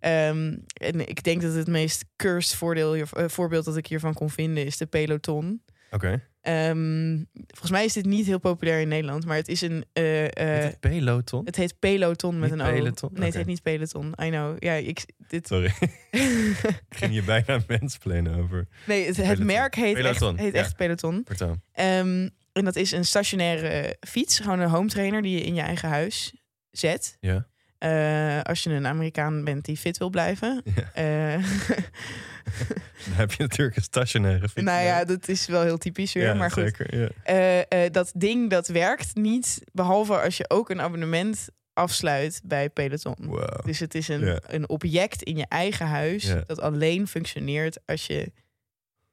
[SPEAKER 2] Ehm, en ik denk dat het meest cursed voordeel, hier- eh, voorbeeld dat ik hiervan kon vinden is de peloton.
[SPEAKER 1] Oké.
[SPEAKER 2] Ehm, volgens mij is dit niet heel populair in Nederland, maar het is een. eh, eh,
[SPEAKER 1] Heet het peloton?
[SPEAKER 2] het heet Peloton met
[SPEAKER 1] Niet
[SPEAKER 2] een O.
[SPEAKER 1] Peloton?
[SPEAKER 2] Nee, het
[SPEAKER 1] Oké.
[SPEAKER 2] heet niet Peloton. I know. Ja, ik. Dit...
[SPEAKER 1] Sorry, ik ging je bijna mensplannen over.
[SPEAKER 2] nee, het, het
[SPEAKER 1] Peloton.
[SPEAKER 2] merk heet,
[SPEAKER 1] Peloton,
[SPEAKER 2] echt, heet
[SPEAKER 1] ja.
[SPEAKER 2] echt Peloton.
[SPEAKER 1] Vertel.
[SPEAKER 2] Ehm, en dat is een stationaire eh, fiets, gewoon een home trainer die je in je eigen huis zet.
[SPEAKER 1] Ja.
[SPEAKER 2] Eh, Eh, als je een Amerikaan bent die fit wil blijven.
[SPEAKER 1] Ja,
[SPEAKER 2] Eh,
[SPEAKER 1] dan heb je natuurlijk een stationaire fiets.
[SPEAKER 2] nou
[SPEAKER 1] nodig.
[SPEAKER 2] ja, dat is wel heel typisch weer.
[SPEAKER 1] Ja,
[SPEAKER 2] maar goed,
[SPEAKER 1] zeker, ja.
[SPEAKER 2] Eh, eh, dat ding dat werkt niet, behalve als je ook een abonnement afsluit bij Peloton.
[SPEAKER 1] Wow.
[SPEAKER 2] Dus het is een,
[SPEAKER 1] Ja.
[SPEAKER 2] een object in je eigen huis
[SPEAKER 1] Ja.
[SPEAKER 2] dat alleen functioneert als je,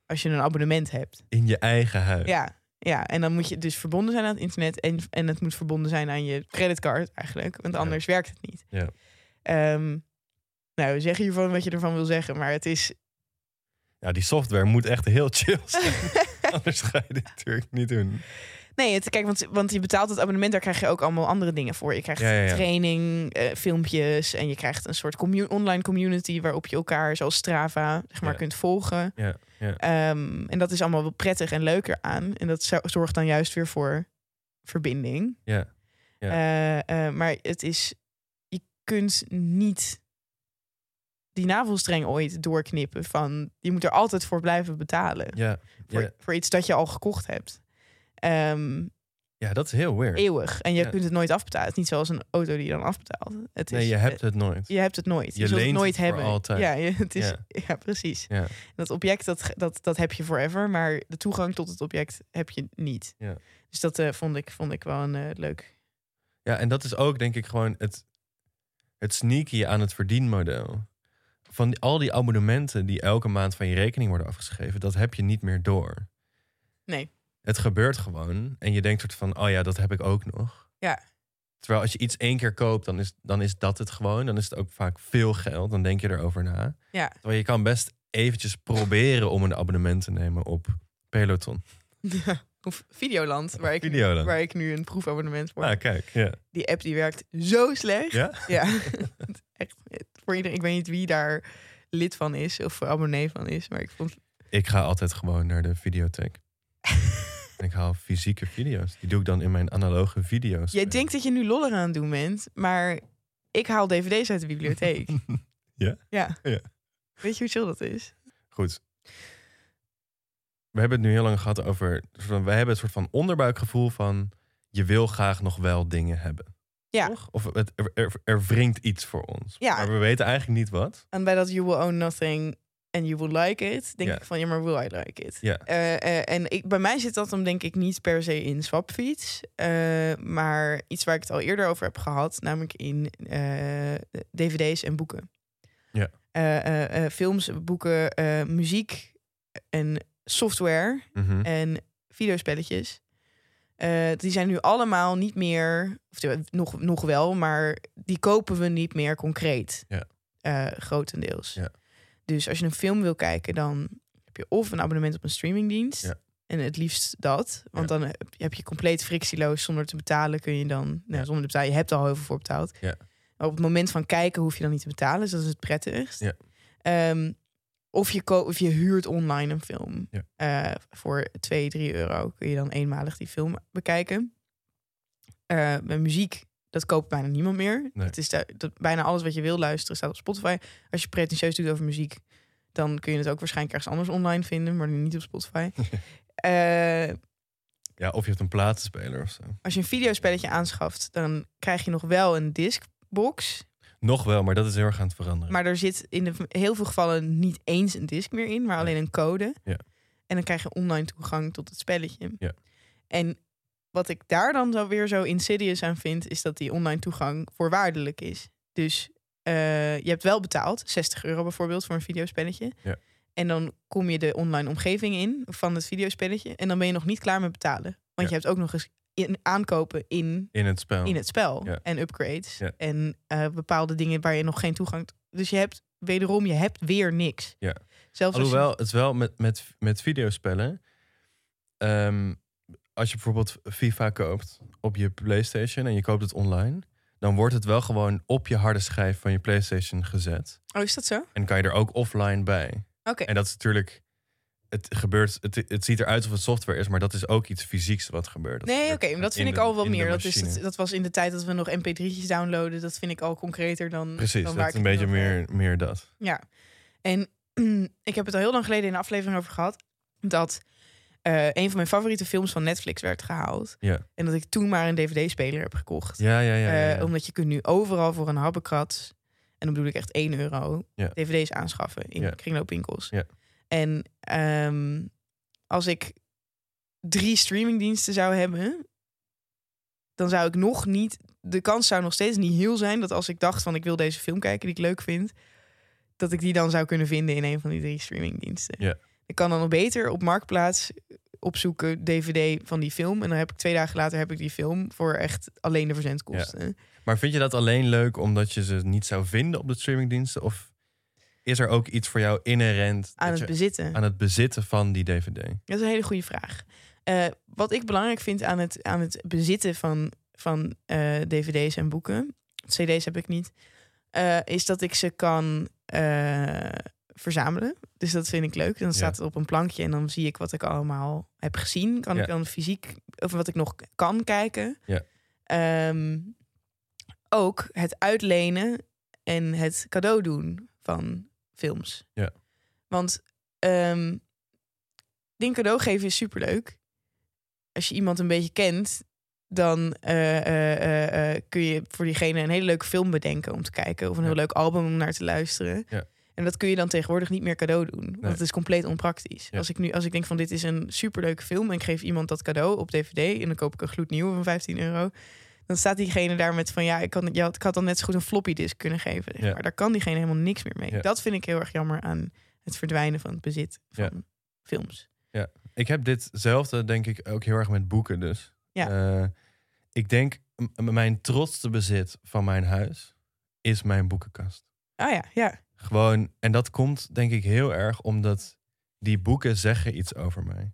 [SPEAKER 2] als je een abonnement hebt.
[SPEAKER 1] In je eigen huis.
[SPEAKER 2] Ja. Ja, en dan moet je dus verbonden zijn aan het internet en, en het moet verbonden zijn aan je creditcard eigenlijk, want
[SPEAKER 1] Ja.
[SPEAKER 2] anders werkt het niet.
[SPEAKER 1] Ja.
[SPEAKER 2] Ehm, nou, zeg hiervan wat je ervan wil zeggen, maar het is...
[SPEAKER 1] Ja, die software moet echt heel chill zijn. Anders ga je dit natuurlijk niet doen.
[SPEAKER 2] Nee, het, kijk, want, want je betaalt het abonnement, daar krijg je ook allemaal andere dingen voor. Je krijgt
[SPEAKER 1] Ja, ja, ja.
[SPEAKER 2] training, eh, filmpjes en je krijgt een soort commu- online community waarop je elkaar, zoals Strava, zeg maar,
[SPEAKER 1] Ja.
[SPEAKER 2] kunt volgen.
[SPEAKER 1] Ja, ja.
[SPEAKER 2] Ehm, en dat is allemaal wel prettig en leuker aan. En dat zo- zorgt dan juist weer voor verbinding.
[SPEAKER 1] Ja. Ja.
[SPEAKER 2] Eh, eh, maar het is, je kunt niet die navelstreng ooit doorknippen van, je moet er altijd voor blijven betalen.
[SPEAKER 1] Ja,
[SPEAKER 2] Voor,
[SPEAKER 1] ja.
[SPEAKER 2] voor iets dat je al gekocht hebt. Ehm,
[SPEAKER 1] ja dat is heel weird.
[SPEAKER 2] eeuwig. En je
[SPEAKER 1] Ja.
[SPEAKER 2] kunt het nooit afbetalen. Het is niet zoals een auto die je dan afbetaalt. Het is, eh,
[SPEAKER 1] Nee, je hebt het nooit.
[SPEAKER 2] je hebt het nooit. Je,
[SPEAKER 1] Je
[SPEAKER 2] zult het
[SPEAKER 1] leent
[SPEAKER 2] nooit
[SPEAKER 1] het voor
[SPEAKER 2] hebben.
[SPEAKER 1] altijd.
[SPEAKER 2] Ja, je- het is, ja.
[SPEAKER 1] Ja.
[SPEAKER 2] precies.
[SPEAKER 1] Ja.
[SPEAKER 2] Dat object, dat, dat, dat heb je forever. Maar de toegang tot het object heb je niet.
[SPEAKER 1] Ja.
[SPEAKER 2] Dus dat eh, vond, ik, vond ik wel een eh, leuk.
[SPEAKER 1] Ja, en dat is ook denk ik gewoon het, het sneaky aan het verdienmodel. Van die- al die abonnementen die elke maand van je rekening worden afgeschreven, dat heb je niet meer door.
[SPEAKER 2] Nee.
[SPEAKER 1] Het gebeurt gewoon en je denkt soort van, oh ja, dat heb ik ook nog.
[SPEAKER 2] Ja.
[SPEAKER 1] Terwijl als je iets één keer koopt, dan is, dan is dat het gewoon. Dan is het ook vaak veel geld, dan denk je erover na.
[SPEAKER 2] Ja.
[SPEAKER 1] Terwijl je kan best eventjes proberen om een abonnement te nemen op Peloton.
[SPEAKER 2] Of Videoland, waar ik,
[SPEAKER 1] Video dan.
[SPEAKER 2] waar ik nu een proefabonnement voor
[SPEAKER 1] Nou,
[SPEAKER 2] heb.
[SPEAKER 1] kijk, ja.
[SPEAKER 2] Die app die werkt zo slecht.
[SPEAKER 1] Ja?
[SPEAKER 2] Ja, het is echt, het- voor iedereen. Ik weet niet wie daar lid van is of abonnee van is. Maar ik vond
[SPEAKER 1] Ik ga altijd gewoon naar de videotheek. En ik haal fysieke video's. Die doe ik dan in mijn analoge video's.
[SPEAKER 2] Jij denkt dat je nu lollen aan het doen bent, maar ik haal dvd's uit de bibliotheek.
[SPEAKER 1] Ja?
[SPEAKER 2] Ja.
[SPEAKER 1] Ja.
[SPEAKER 2] Weet je hoe chill dat is?
[SPEAKER 1] Goed. We hebben het nu heel lang gehad over... soort van- We hebben het soort van onderbuikgevoel van... Je wil graag nog wel dingen hebben.
[SPEAKER 2] Ja.
[SPEAKER 1] Toch? Of het, er, er, er wringt iets voor ons.
[SPEAKER 2] Ja.
[SPEAKER 1] Maar we weten eigenlijk niet wat.
[SPEAKER 2] En bij dat you will own nothing and you will like it, denk
[SPEAKER 1] Ja.
[SPEAKER 2] ik van ja, maar will I like it?
[SPEAKER 1] Ja.
[SPEAKER 2] Eh, eh, en ik, bij mij zit dat dan denk ik niet per se in swapfiets, eh, maar iets waar ik het al eerder over heb gehad, namelijk in eh, dvd's en boeken.
[SPEAKER 1] Ja.
[SPEAKER 2] Eh, eh, eh, films, boeken, eh, muziek en software.
[SPEAKER 1] Mhm.
[SPEAKER 2] en videospelletjes. Eh, die zijn nu allemaal niet meer, of ja, nog, nog wel, maar die kopen we niet meer concreet.
[SPEAKER 1] Ja.
[SPEAKER 2] Eh, grotendeels.
[SPEAKER 1] Ja.
[SPEAKER 2] Dus als je een film wil kijken, dan heb je of een abonnement op een streamingdienst.
[SPEAKER 1] Ja.
[SPEAKER 2] En het liefst dat. Want dan heb- heb je compleet frictieloos zonder te betalen kun je dan. Nou,
[SPEAKER 1] Ja.
[SPEAKER 2] zonder te betalen, je hebt er al heel veel voor betaald.
[SPEAKER 1] Ja.
[SPEAKER 2] Maar op het moment van kijken hoef je dan niet te betalen. Dus dat is het prettigst.
[SPEAKER 1] Ja.
[SPEAKER 2] Ehm, of, je ko- of je huurt online een film.
[SPEAKER 1] Ja.
[SPEAKER 2] Eh, voor 2, 3 euro kun je dan eenmalig die film bekijken. Eh, bij muziek, dat koopt bijna niemand meer.
[SPEAKER 1] Nee.
[SPEAKER 2] Het is da- dat, bijna alles wat je wil luisteren staat op Spotify. Als je pretentieus doet over muziek, dan kun je het ook waarschijnlijk ergens anders online vinden, maar niet op Spotify. Eh,
[SPEAKER 1] Ja, of je hebt een platenspeler of zo.
[SPEAKER 2] als je een videospelletje aanschaft, dan krijg je nog wel een discbox.
[SPEAKER 1] Nog wel, maar dat is heel erg aan het veranderen.
[SPEAKER 2] Maar er zit in de, heel veel gevallen niet eens een disc meer in, maar alleen een code.
[SPEAKER 1] Ja.
[SPEAKER 2] En dan krijg je online toegang tot het spelletje.
[SPEAKER 1] Ja.
[SPEAKER 2] En wat ik daar dan zo weer zo insidious aan vind, is dat die online toegang voorwaardelijk is. Dus eh, je hebt wel betaald, 60 euro bijvoorbeeld, voor een videospelletje.
[SPEAKER 1] Ja.
[SPEAKER 2] En dan kom je de online omgeving in van het videospelletje. En dan ben je nog niet klaar met betalen.
[SPEAKER 1] Ja.
[SPEAKER 2] Want je hebt ook nog eens in, aankopen in
[SPEAKER 1] In het spel.
[SPEAKER 2] in het spel.
[SPEAKER 1] Oh. Ja.
[SPEAKER 2] En upgrades.
[SPEAKER 1] Ja.
[SPEAKER 2] En eh, bepaalde dingen waar je nog geen toegang... t- Dus je hebt wederom, je hebt weer niks.
[SPEAKER 1] Ja.
[SPEAKER 2] Zelfs als je-
[SPEAKER 1] Alhoewel, het is wel met, met, met videospellen. Ehm, als je bijvoorbeeld FIFA koopt op je PlayStation en je koopt het online, dan wordt het wel gewoon op je harde schijf van je PlayStation gezet.
[SPEAKER 2] Oh, is dat zo?
[SPEAKER 1] En kan je er ook offline bij.
[SPEAKER 2] Oké.
[SPEAKER 1] En dat is natuurlijk. Het gebeurt. Het, het ziet eruit of het software is, maar dat is ook iets fysieks wat gebeurt. Dat
[SPEAKER 2] Nee, oké,
[SPEAKER 1] gebeurt
[SPEAKER 2] maar dat
[SPEAKER 1] in
[SPEAKER 2] vind ik
[SPEAKER 1] de-
[SPEAKER 2] al wel
[SPEAKER 1] in de
[SPEAKER 2] meer. Dat, is
[SPEAKER 1] machine.
[SPEAKER 2] het, dat was in de tijd dat we nog mp3'tjes downloaden. Dat vind ik al concreter dan
[SPEAKER 1] Precies,
[SPEAKER 2] dan
[SPEAKER 1] dat
[SPEAKER 2] waar
[SPEAKER 1] is
[SPEAKER 2] ik
[SPEAKER 1] een
[SPEAKER 2] het
[SPEAKER 1] beetje
[SPEAKER 2] over heb.
[SPEAKER 1] meer, meer dat.
[SPEAKER 2] Ja. En ik heb het al heel lang geleden in een aflevering over gehad. Dat eh, een van mijn favoriete films van Netflix werd gehaald.
[SPEAKER 1] Ja.
[SPEAKER 2] En dat ik toen maar een dvd-speler heb gekocht.
[SPEAKER 1] Ja, ja, ja. ja, ja.
[SPEAKER 2] Eh, omdat je kunt nu overal voor een habbekrat, en dan bedoel ik echt 1 euro,
[SPEAKER 1] Ja.
[SPEAKER 2] dvd's aanschaffen in
[SPEAKER 1] Ja.
[SPEAKER 2] kringloopwinkels.
[SPEAKER 1] Ja.
[SPEAKER 2] En ehm, als ik drie streamingdiensten zou hebben, dan zou ik nog niet, de kans zou nog steeds niet heel zijn dat als ik dacht van ik wil deze film kijken die ik leuk vind, dat ik die dan zou kunnen vinden in een van die drie streamingdiensten.
[SPEAKER 1] Ja.
[SPEAKER 2] Ik kan dan nog beter op Marktplaats opzoeken DVD van die film. En dan heb ik twee dagen later heb ik die film voor echt alleen de verzendkosten.
[SPEAKER 1] Maar vind je dat alleen leuk omdat je ze niet zou vinden op de streamingdiensten? Of is er ook iets voor jou inherent
[SPEAKER 2] aan
[SPEAKER 1] dat
[SPEAKER 2] het
[SPEAKER 1] je-
[SPEAKER 2] bezitten?
[SPEAKER 1] aan het bezitten van die DVD?
[SPEAKER 2] Dat is een hele goede vraag. Eh, wat ik belangrijk vind aan het, aan het bezitten van, van eh, dvd's en boeken, cd's heb ik niet, eh, is dat ik ze kan eh, verzamelen. Dus dat vind ik leuk. Dan staat het op een plankje en dan zie ik wat ik allemaal heb gezien. Kan
[SPEAKER 1] Ja.
[SPEAKER 2] ik dan fysiek, of wat ik nog k- kan kijken.
[SPEAKER 1] Ja.
[SPEAKER 2] Ehm, ook het uitlenen en het cadeau doen van films.
[SPEAKER 1] Ja.
[SPEAKER 2] Want ehm ding cadeau geven is superleuk. Als je iemand een beetje kent, dan eh, eh, eh, eh, kun je voor diegene een hele leuke film bedenken om te kijken. Of een heel
[SPEAKER 1] Ja.
[SPEAKER 2] leuk album om naar te luisteren.
[SPEAKER 1] Ja.
[SPEAKER 2] En dat kun je dan tegenwoordig niet meer cadeau doen. Want
[SPEAKER 1] Nee.
[SPEAKER 2] het is compleet onpraktisch.
[SPEAKER 1] Ja.
[SPEAKER 2] Als ik nu als ik denk van dit is een superleuke film en ik geef iemand dat cadeau op dvd en dan koop ik een gloednieuwe van 15 euro. Dan staat diegene daar met van ja, ik had, ja, ik had dan net zo goed een floppy disk kunnen geven. zeg
[SPEAKER 1] Ja.
[SPEAKER 2] Maar daar kan diegene helemaal niks meer mee.
[SPEAKER 1] Ja.
[SPEAKER 2] Dat vind ik heel erg jammer aan het verdwijnen van het bezit van
[SPEAKER 1] Ja.
[SPEAKER 2] films.
[SPEAKER 1] Ik heb ditzelfde, denk ik, ook heel erg met boeken dus.
[SPEAKER 2] Ja.
[SPEAKER 1] Eh, ik denk, m- mijn trotste bezit van mijn huis is mijn boekenkast.
[SPEAKER 2] Ah ja, ja.
[SPEAKER 1] Gewoon, en dat komt denk ik heel erg omdat die boeken zeggen iets over mij.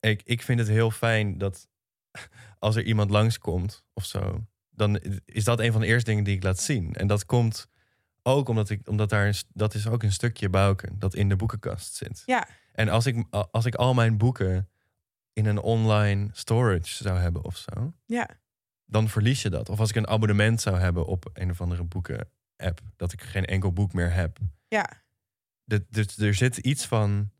[SPEAKER 1] Ik, ik vind het heel fijn dat als er iemand langskomt of zo, dan is dat een van de eerste dingen die ik laat zien. En dat komt ook omdat, ik, omdat daar, een st- dat is ook een stukje Bouken dat in de boekenkast zit.
[SPEAKER 2] Ja.
[SPEAKER 1] En als ik, als ik al mijn boeken in een online storage zou hebben of zo,
[SPEAKER 2] Ja.
[SPEAKER 1] dan verlies je dat. Of als ik een abonnement zou hebben op een of andere boeken-app, dat ik geen enkel boek meer heb.
[SPEAKER 2] Ja.
[SPEAKER 1] Dit- dit- er zit iets van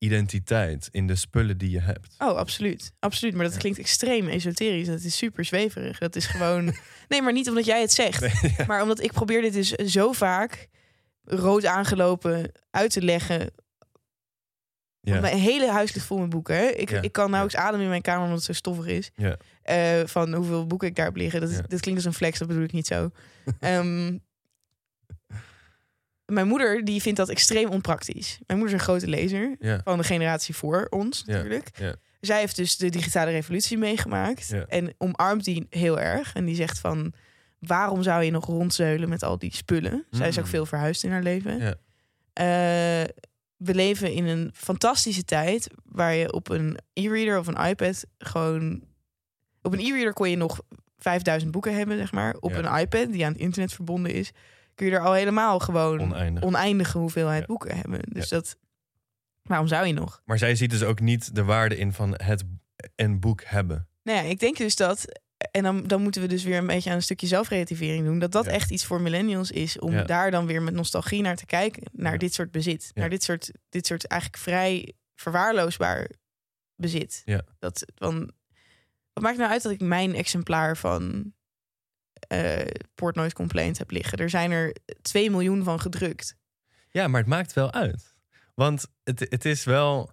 [SPEAKER 1] identiteit in de spullen die je hebt.
[SPEAKER 2] Oh, absoluut. Absoluut. Maar dat
[SPEAKER 1] Ja.
[SPEAKER 2] klinkt extreem esoterisch. Dat is super zweverig. Dat is gewoon. nee, maar niet omdat jij het zegt.
[SPEAKER 1] Nee, ja.
[SPEAKER 2] Maar omdat ik probeer dit dus zo vaak rood aangelopen uit te leggen.
[SPEAKER 1] Ja.
[SPEAKER 2] Want Mijn hele huis ligt vol met boeken. Hè? Ik,
[SPEAKER 1] Ja.
[SPEAKER 2] ik kan nauwelijks
[SPEAKER 1] Ja.
[SPEAKER 2] ademen in mijn kamer omdat het zo stoffig is.
[SPEAKER 1] Ja.
[SPEAKER 2] Eh, van hoeveel boeken ik daar heb liggen. Dat, is-
[SPEAKER 1] Ja.
[SPEAKER 2] dat klinkt als een flex, dat bedoel ik niet zo. Ehm, mijn moeder die vindt dat extreem onpraktisch. Mijn moeder is een grote lezer.
[SPEAKER 1] Ja.
[SPEAKER 2] Van de generatie voor ons
[SPEAKER 1] Ja.
[SPEAKER 2] natuurlijk.
[SPEAKER 1] Ja.
[SPEAKER 2] Zij heeft dus de digitale revolutie meegemaakt.
[SPEAKER 1] Ja.
[SPEAKER 2] En omarmt die heel erg. En die zegt van... waarom zou je nog rondzeulen met al die spullen? Zij is ook
[SPEAKER 1] Mm.
[SPEAKER 2] veel verhuisd in haar leven.
[SPEAKER 1] Ja.
[SPEAKER 2] Eh, we leven in een fantastische tijd... waar je op een e-reader of een iPad gewoon... Op een e-reader kon je nog 5000 boeken hebben, zeg maar. Op
[SPEAKER 1] Ja.
[SPEAKER 2] een iPad, die aan het internet verbonden is... kun je er al helemaal gewoon
[SPEAKER 1] Oneindig.
[SPEAKER 2] oneindige hoeveelheid
[SPEAKER 1] Ja.
[SPEAKER 2] boeken hebben. Dus dat... Waarom zou je nog?
[SPEAKER 1] Maar zij ziet dus ook niet de waarde in van het een boek hebben.
[SPEAKER 2] Nou ja, ik denk dus dat. En dan, dan moeten we dus weer een beetje aan een stukje zelfrelativering doen. Dat dat
[SPEAKER 1] Ja.
[SPEAKER 2] echt iets voor millennials is. Om
[SPEAKER 1] Ja.
[SPEAKER 2] daar dan weer met nostalgie naar te kijken. Naar
[SPEAKER 1] Ja.
[SPEAKER 2] dit soort bezit.
[SPEAKER 1] Ja.
[SPEAKER 2] Naar dit soort, dit soort eigenlijk vrij verwaarloosbaar bezit.
[SPEAKER 1] Ja.
[SPEAKER 2] Dat, van, wat maakt nou uit dat ik mijn exemplaar van eh Port Noise Complaint heb liggen? Er zijn er 2 miljoen van gedrukt.
[SPEAKER 1] Ja, maar het maakt wel uit. Want het, het is wel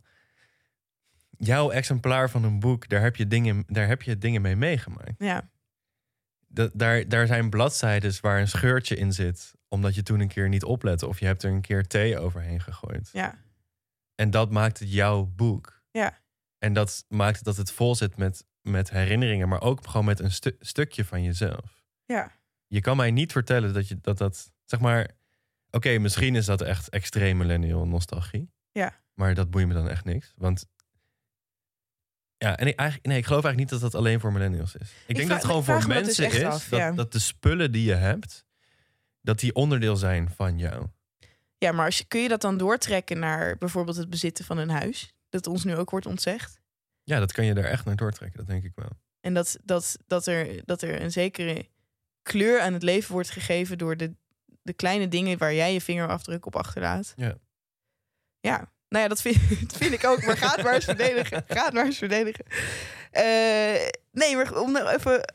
[SPEAKER 1] jouw exemplaar van een boek, daar heb je dingen, daar heb je dingen mee meegemaakt.
[SPEAKER 2] Ja,
[SPEAKER 1] dat, daar, daar zijn bladzijdes waar een scheurtje in zit. Omdat je toen een keer niet oplette. Of je hebt er een keer thee overheen gegooid.
[SPEAKER 2] ja,
[SPEAKER 1] En dat maakt het jouw boek.
[SPEAKER 2] Ja.
[SPEAKER 1] En dat maakt dat het vol zit met, met herinneringen. Maar ook gewoon met een stu- stukje van jezelf.
[SPEAKER 2] ja.
[SPEAKER 1] Je kan mij niet vertellen dat je, dat, dat zeg maar... Oké, misschien is dat echt extreem millennial nostalgie.
[SPEAKER 2] Ja.
[SPEAKER 1] Maar dat boeit me dan echt niks. Want... Ja, en ik, eigenlijk, nee, ik geloof eigenlijk niet dat dat alleen voor millennials is. Ik, denk
[SPEAKER 2] vraag-
[SPEAKER 1] dat het gewoon
[SPEAKER 2] ik vraag
[SPEAKER 1] voor
[SPEAKER 2] me dat dus
[SPEAKER 1] mensen is
[SPEAKER 2] echt af,
[SPEAKER 1] dat,
[SPEAKER 2] ja.
[SPEAKER 1] dat de spullen die je hebt, dat die onderdeel zijn van jou.
[SPEAKER 2] Ja, maar als je, kun je dat dan doortrekken naar bijvoorbeeld het bezitten van een huis? Dat ons nu ook wordt ontzegd?
[SPEAKER 1] Ja, dat kan je daar echt naar doortrekken, dat denk ik wel.
[SPEAKER 2] En dat, dat, dat, er, dat er een zekere kleur aan het leven wordt gegeven door de, de kleine dingen waar jij je vingerafdruk op achterlaat.
[SPEAKER 1] Ja.
[SPEAKER 2] Ja, Nou ja, dat vind, dat vind ik ook. Maar ga het maar eens verdedigen. Ga het maar eens verdedigen. Eh, nee, maar om nou even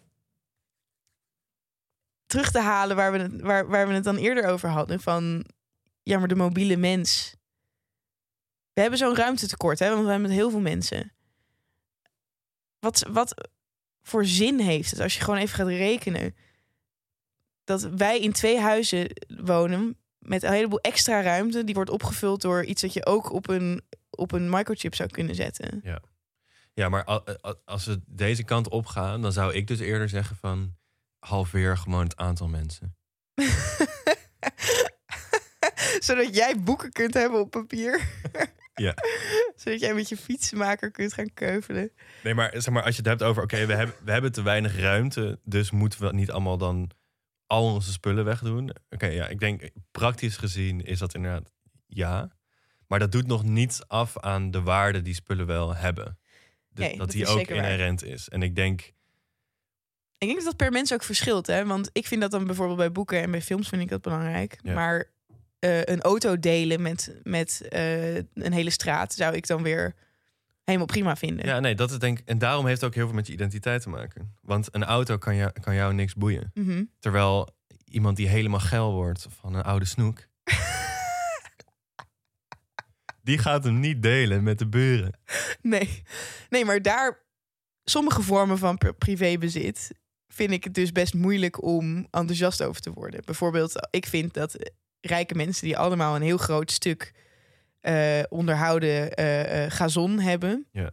[SPEAKER 2] terug te halen waar we, het, waar, waar we het dan eerder over hadden. Van, ja, maar de mobiele mens. We hebben zo'n ruimtetekort, hè, want we hebben met heel veel mensen. Wat, wat voor zin heeft het als je gewoon even gaat rekenen? Dat wij in twee huizen wonen met een heleboel extra ruimte. Die wordt opgevuld door iets dat je ook op een, op een microchip zou kunnen zetten.
[SPEAKER 1] Ja, maar a- a- als we deze kant op gaan, dan zou ik dus eerder zeggen van halveer gewoon het aantal mensen.
[SPEAKER 2] Zodat jij boeken kunt hebben op papier.
[SPEAKER 1] Ja.
[SPEAKER 2] Zodat jij met je fietsenmaker kunt gaan keuvelen.
[SPEAKER 1] Nee, maar zeg maar, als je het hebt over oké, we, hebben, we hebben te weinig ruimte, dus moeten we niet allemaal dan al onze spullen wegdoen. Oké, ja, ik denk praktisch gezien is dat inderdaad ja. Maar dat doet nog niets af aan de waarde die spullen wel hebben. De-
[SPEAKER 2] Nee,
[SPEAKER 1] dat,
[SPEAKER 2] dat
[SPEAKER 1] die
[SPEAKER 2] is
[SPEAKER 1] ook
[SPEAKER 2] zeker waar.
[SPEAKER 1] inherent is. En ik denk,
[SPEAKER 2] Ik denk dat dat per mens ook verschilt. Hè? Want ik vind dat dan bijvoorbeeld bij boeken en bij films vind ik dat belangrijk.
[SPEAKER 1] Ja.
[SPEAKER 2] Maar eh, een auto delen met, met eh, een hele straat zou ik dan weer helemaal prima vinden.
[SPEAKER 1] ja, nee, dat is denk En daarom heeft het ook heel veel met je identiteit te maken. Want een auto kan, jou- kan jou niks boeien.
[SPEAKER 2] Mhm.
[SPEAKER 1] Terwijl iemand die helemaal geil wordt van een oude snoek. die gaat hem niet delen met de buren.
[SPEAKER 2] Nee. nee, maar daar sommige vormen van pri- privébezit vind ik het dus best moeilijk om enthousiast over te worden. Bijvoorbeeld, ik vind dat eh, rijke mensen die allemaal een heel groot stuk eh, onderhouden eh, eh, gazon hebben,
[SPEAKER 1] Ja.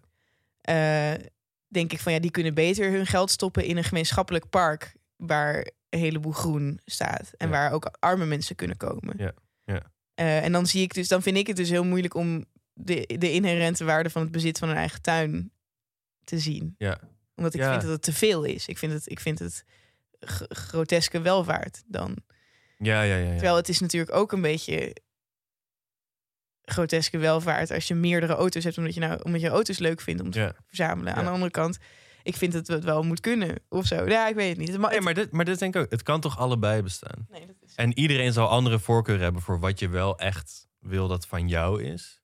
[SPEAKER 2] eh, denk ik van ja, die kunnen beter hun geld stoppen in een gemeenschappelijk park waar een heleboel groen staat en
[SPEAKER 1] Ja.
[SPEAKER 2] waar ook arme mensen kunnen komen.
[SPEAKER 1] Ja, ja.
[SPEAKER 2] Eh, en dan zie ik dus, dan vind ik het dus heel moeilijk om de, de inherente waarde van het bezit van een eigen tuin te zien.
[SPEAKER 1] Ja.
[SPEAKER 2] Omdat ik
[SPEAKER 1] Ja.
[SPEAKER 2] vind dat het te veel is. Ik vind het, ik vind het g- groteske welvaart dan.
[SPEAKER 1] Ja, ja, ja. ja.
[SPEAKER 2] Terwijl het is natuurlijk ook een beetje groteske welvaart als je meerdere auto's hebt omdat je, nou, omdat je auto's leuk vindt om te
[SPEAKER 1] Ja.
[SPEAKER 2] verzamelen. Aan
[SPEAKER 1] Ja.
[SPEAKER 2] de andere kant, ik vind dat het wel moet kunnen of zo. Ja, ik weet het niet. Het ma-
[SPEAKER 1] Nee, maar dit, maar dit denk ik ook. Het kan toch allebei bestaan?
[SPEAKER 2] Nee, dat is...
[SPEAKER 1] En iedereen zal andere voorkeur hebben voor wat je wel echt wil dat van jou is.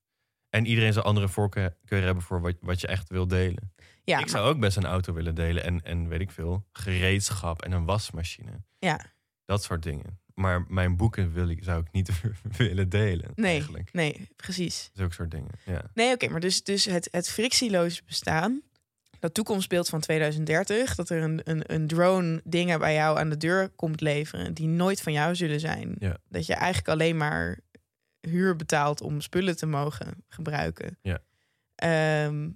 [SPEAKER 1] En iedereen zal andere voorkeur hebben voor wat, wat je echt wil delen.
[SPEAKER 2] Ja,
[SPEAKER 1] ik zou ook best een auto willen delen en, en weet ik veel, gereedschap en een wasmachine.
[SPEAKER 2] Ja.
[SPEAKER 1] Dat soort dingen. Maar mijn boeken wil ik, zou ik niet willen delen.
[SPEAKER 2] Nee.
[SPEAKER 1] Eigenlijk.
[SPEAKER 2] maar- nee, precies.
[SPEAKER 1] Zulke soort dingen. Ja.
[SPEAKER 2] Nee, oké, maar dus, dus het, het frictieloos bestaan. Dat toekomstbeeld van 2030, dat er een, een, een drone dingen bij jou aan de deur komt leveren die nooit van jou zullen zijn.
[SPEAKER 1] Ja.
[SPEAKER 2] Dat je eigenlijk alleen maar huur betaalt om spullen te mogen gebruiken.
[SPEAKER 1] Ja.
[SPEAKER 2] Ehm,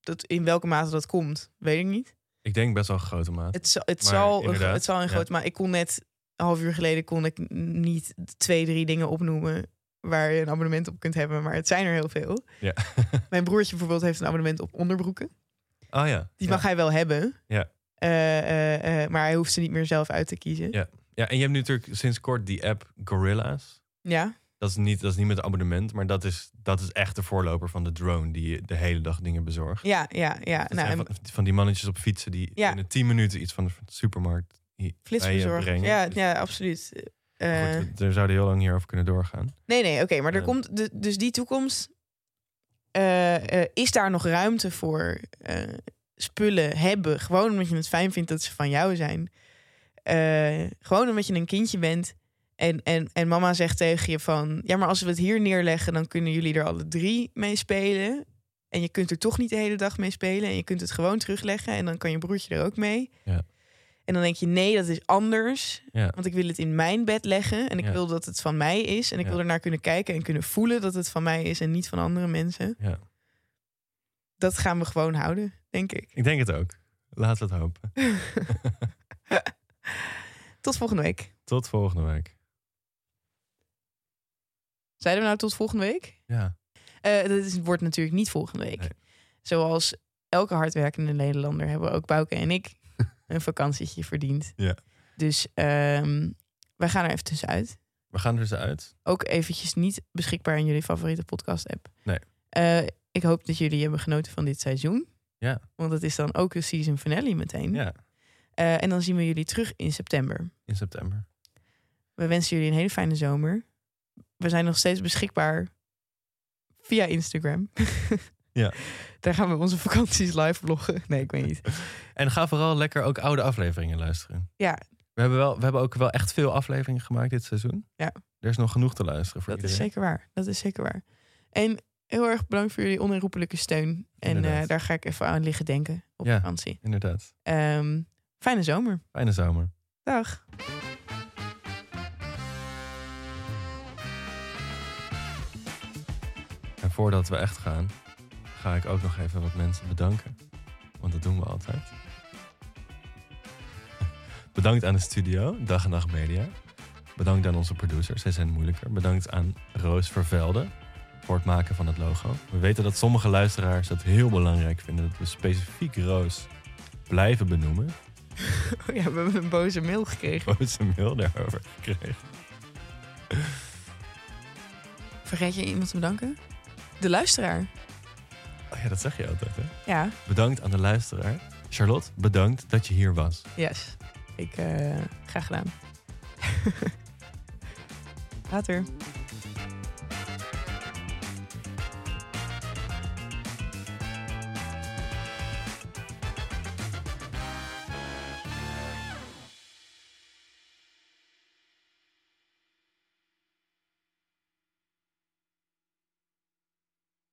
[SPEAKER 2] dat, in welke mate dat komt, weet ik niet.
[SPEAKER 1] Ik denk best wel een grote maat.
[SPEAKER 2] Het, zal- het,
[SPEAKER 1] Maar
[SPEAKER 2] zal, een,
[SPEAKER 1] inderdaad,
[SPEAKER 2] het zal een
[SPEAKER 1] ja.
[SPEAKER 2] groot, maar ik kon net een half uur geleden kon ik n- niet twee, drie dingen opnoemen waar je een abonnement op kunt hebben, maar het zijn er heel veel.
[SPEAKER 1] Ja.
[SPEAKER 2] Mijn broertje bijvoorbeeld heeft een abonnement op onderbroeken.
[SPEAKER 1] Oh ja.
[SPEAKER 2] Die
[SPEAKER 1] ja.
[SPEAKER 2] mag hij wel hebben.
[SPEAKER 1] Ja.
[SPEAKER 2] Eh, eh, eh, maar hij hoeft ze niet meer zelf uit te kiezen.
[SPEAKER 1] Ja. Ja, en je hebt nu natuurlijk sinds kort die app Gorilla's.
[SPEAKER 2] Ja.
[SPEAKER 1] Dat is niet, dat is niet met abonnement, maar dat is, dat is echt de voorloper van de drone die je de hele dag dingen bezorgt.
[SPEAKER 2] Ja, ja, ja.
[SPEAKER 1] Dat
[SPEAKER 2] Nou,
[SPEAKER 1] zijn
[SPEAKER 2] en
[SPEAKER 1] van, van die mannetjes op fietsen die
[SPEAKER 2] Ja.
[SPEAKER 1] in 10 minuten iets van de supermarkt hier bij je
[SPEAKER 2] flitsbezorgd.
[SPEAKER 1] brengen.
[SPEAKER 2] Ja,
[SPEAKER 1] Dus-
[SPEAKER 2] ja, absoluut.
[SPEAKER 1] Maar
[SPEAKER 2] Eh,
[SPEAKER 1] Goed, we- daar zouden heel lang hierover kunnen doorgaan.
[SPEAKER 2] nee, nee, oké. maar er
[SPEAKER 1] Eh.
[SPEAKER 2] komt de- dus die toekomst. eh, eh, is daar nog ruimte voor eh, spullen hebben? Gewoon omdat je het fijn vindt dat ze van jou zijn. Eh, gewoon omdat je een kindje bent. En, en, en mama zegt tegen je van... Ja, maar als we het hier neerleggen, dan kunnen jullie er alle drie mee spelen. En je kunt er toch niet de hele dag mee spelen. En je kunt het gewoon terugleggen. En dan kan je broertje er ook mee.
[SPEAKER 1] Ja.
[SPEAKER 2] En dan denk je, nee, dat is anders.
[SPEAKER 1] Ja.
[SPEAKER 2] Want ik wil het in mijn bed leggen. En ik
[SPEAKER 1] Ja.
[SPEAKER 2] wil dat het van mij is. En ik
[SPEAKER 1] Ja.
[SPEAKER 2] wil ernaar kunnen kijken en kunnen voelen dat het van mij is. En niet van andere mensen.
[SPEAKER 1] Ja.
[SPEAKER 2] Dat gaan we gewoon houden, denk ik.
[SPEAKER 1] Ik denk het ook. Laten we het hopen.
[SPEAKER 2] Tot volgende week.
[SPEAKER 1] Tot volgende week.
[SPEAKER 2] Zeiden we nou tot volgende week?
[SPEAKER 1] Ja.
[SPEAKER 2] Eh, dat is, wordt natuurlijk niet volgende week.
[SPEAKER 1] Nee.
[SPEAKER 2] Zoals elke hardwerkende Nederlander hebben ook Bouke en ik een vakantietje verdiend.
[SPEAKER 1] Ja.
[SPEAKER 2] Dus ehm, wij gaan er even tussenuit.
[SPEAKER 1] We gaan er eens uit.
[SPEAKER 2] Ook eventjes niet beschikbaar in jullie favoriete podcast-app.
[SPEAKER 1] Nee.
[SPEAKER 2] Eh, ik hoop dat jullie hebben genoten van dit seizoen.
[SPEAKER 1] Ja.
[SPEAKER 2] Want dat is dan ook een season finale meteen.
[SPEAKER 1] Ja,
[SPEAKER 2] Eh, en dan zien we jullie terug in september.
[SPEAKER 1] in september.
[SPEAKER 2] We wensen jullie een hele fijne zomer. We zijn nog steeds beschikbaar via Instagram.
[SPEAKER 1] Ja.
[SPEAKER 2] Daar gaan we onze vakanties live vloggen. Nee, ik weet niet.
[SPEAKER 1] En ga vooral lekker ook oude afleveringen luisteren.
[SPEAKER 2] Ja.
[SPEAKER 1] We hebben, wel, we hebben ook wel echt veel afleveringen gemaakt dit seizoen.
[SPEAKER 2] Ja.
[SPEAKER 1] Er is nog genoeg te luisteren voor
[SPEAKER 2] Dat is
[SPEAKER 1] iedereen.
[SPEAKER 2] zeker waar. Dat is zeker waar. En heel erg bedankt voor jullie onherroepelijke steun. En
[SPEAKER 1] Inderdaad.
[SPEAKER 2] eh, daar ga ik even aan liggen denken op
[SPEAKER 1] Ja.
[SPEAKER 2] vakantie.
[SPEAKER 1] Inderdaad.
[SPEAKER 2] Ehm, fijne zomer.
[SPEAKER 1] Fijne zomer.
[SPEAKER 2] Dag.
[SPEAKER 1] En voordat we echt gaan, ga ik ook nog even wat mensen bedanken. Want dat doen we altijd. Bedankt aan de studio, Dag en Nacht Media. Bedankt aan onze producers, zij zijn moeilijker. Bedankt aan Roos Vervelde voor het maken van het logo. We weten dat sommige luisteraars het heel belangrijk vinden dat we specifiek Roos blijven benoemen.
[SPEAKER 2] Oh ja, we hebben een boze mail gekregen.
[SPEAKER 1] Roos een mail daarover kreeg.
[SPEAKER 2] Vergeet je iemand te bedanken? De luisteraar.
[SPEAKER 1] Oh ja, dat zeg je altijd, hè?
[SPEAKER 2] Ja,
[SPEAKER 1] Bedankt aan de luisteraar. Charlotte, bedankt dat je hier was.
[SPEAKER 2] yes. Ik, eh graag gedaan. Later.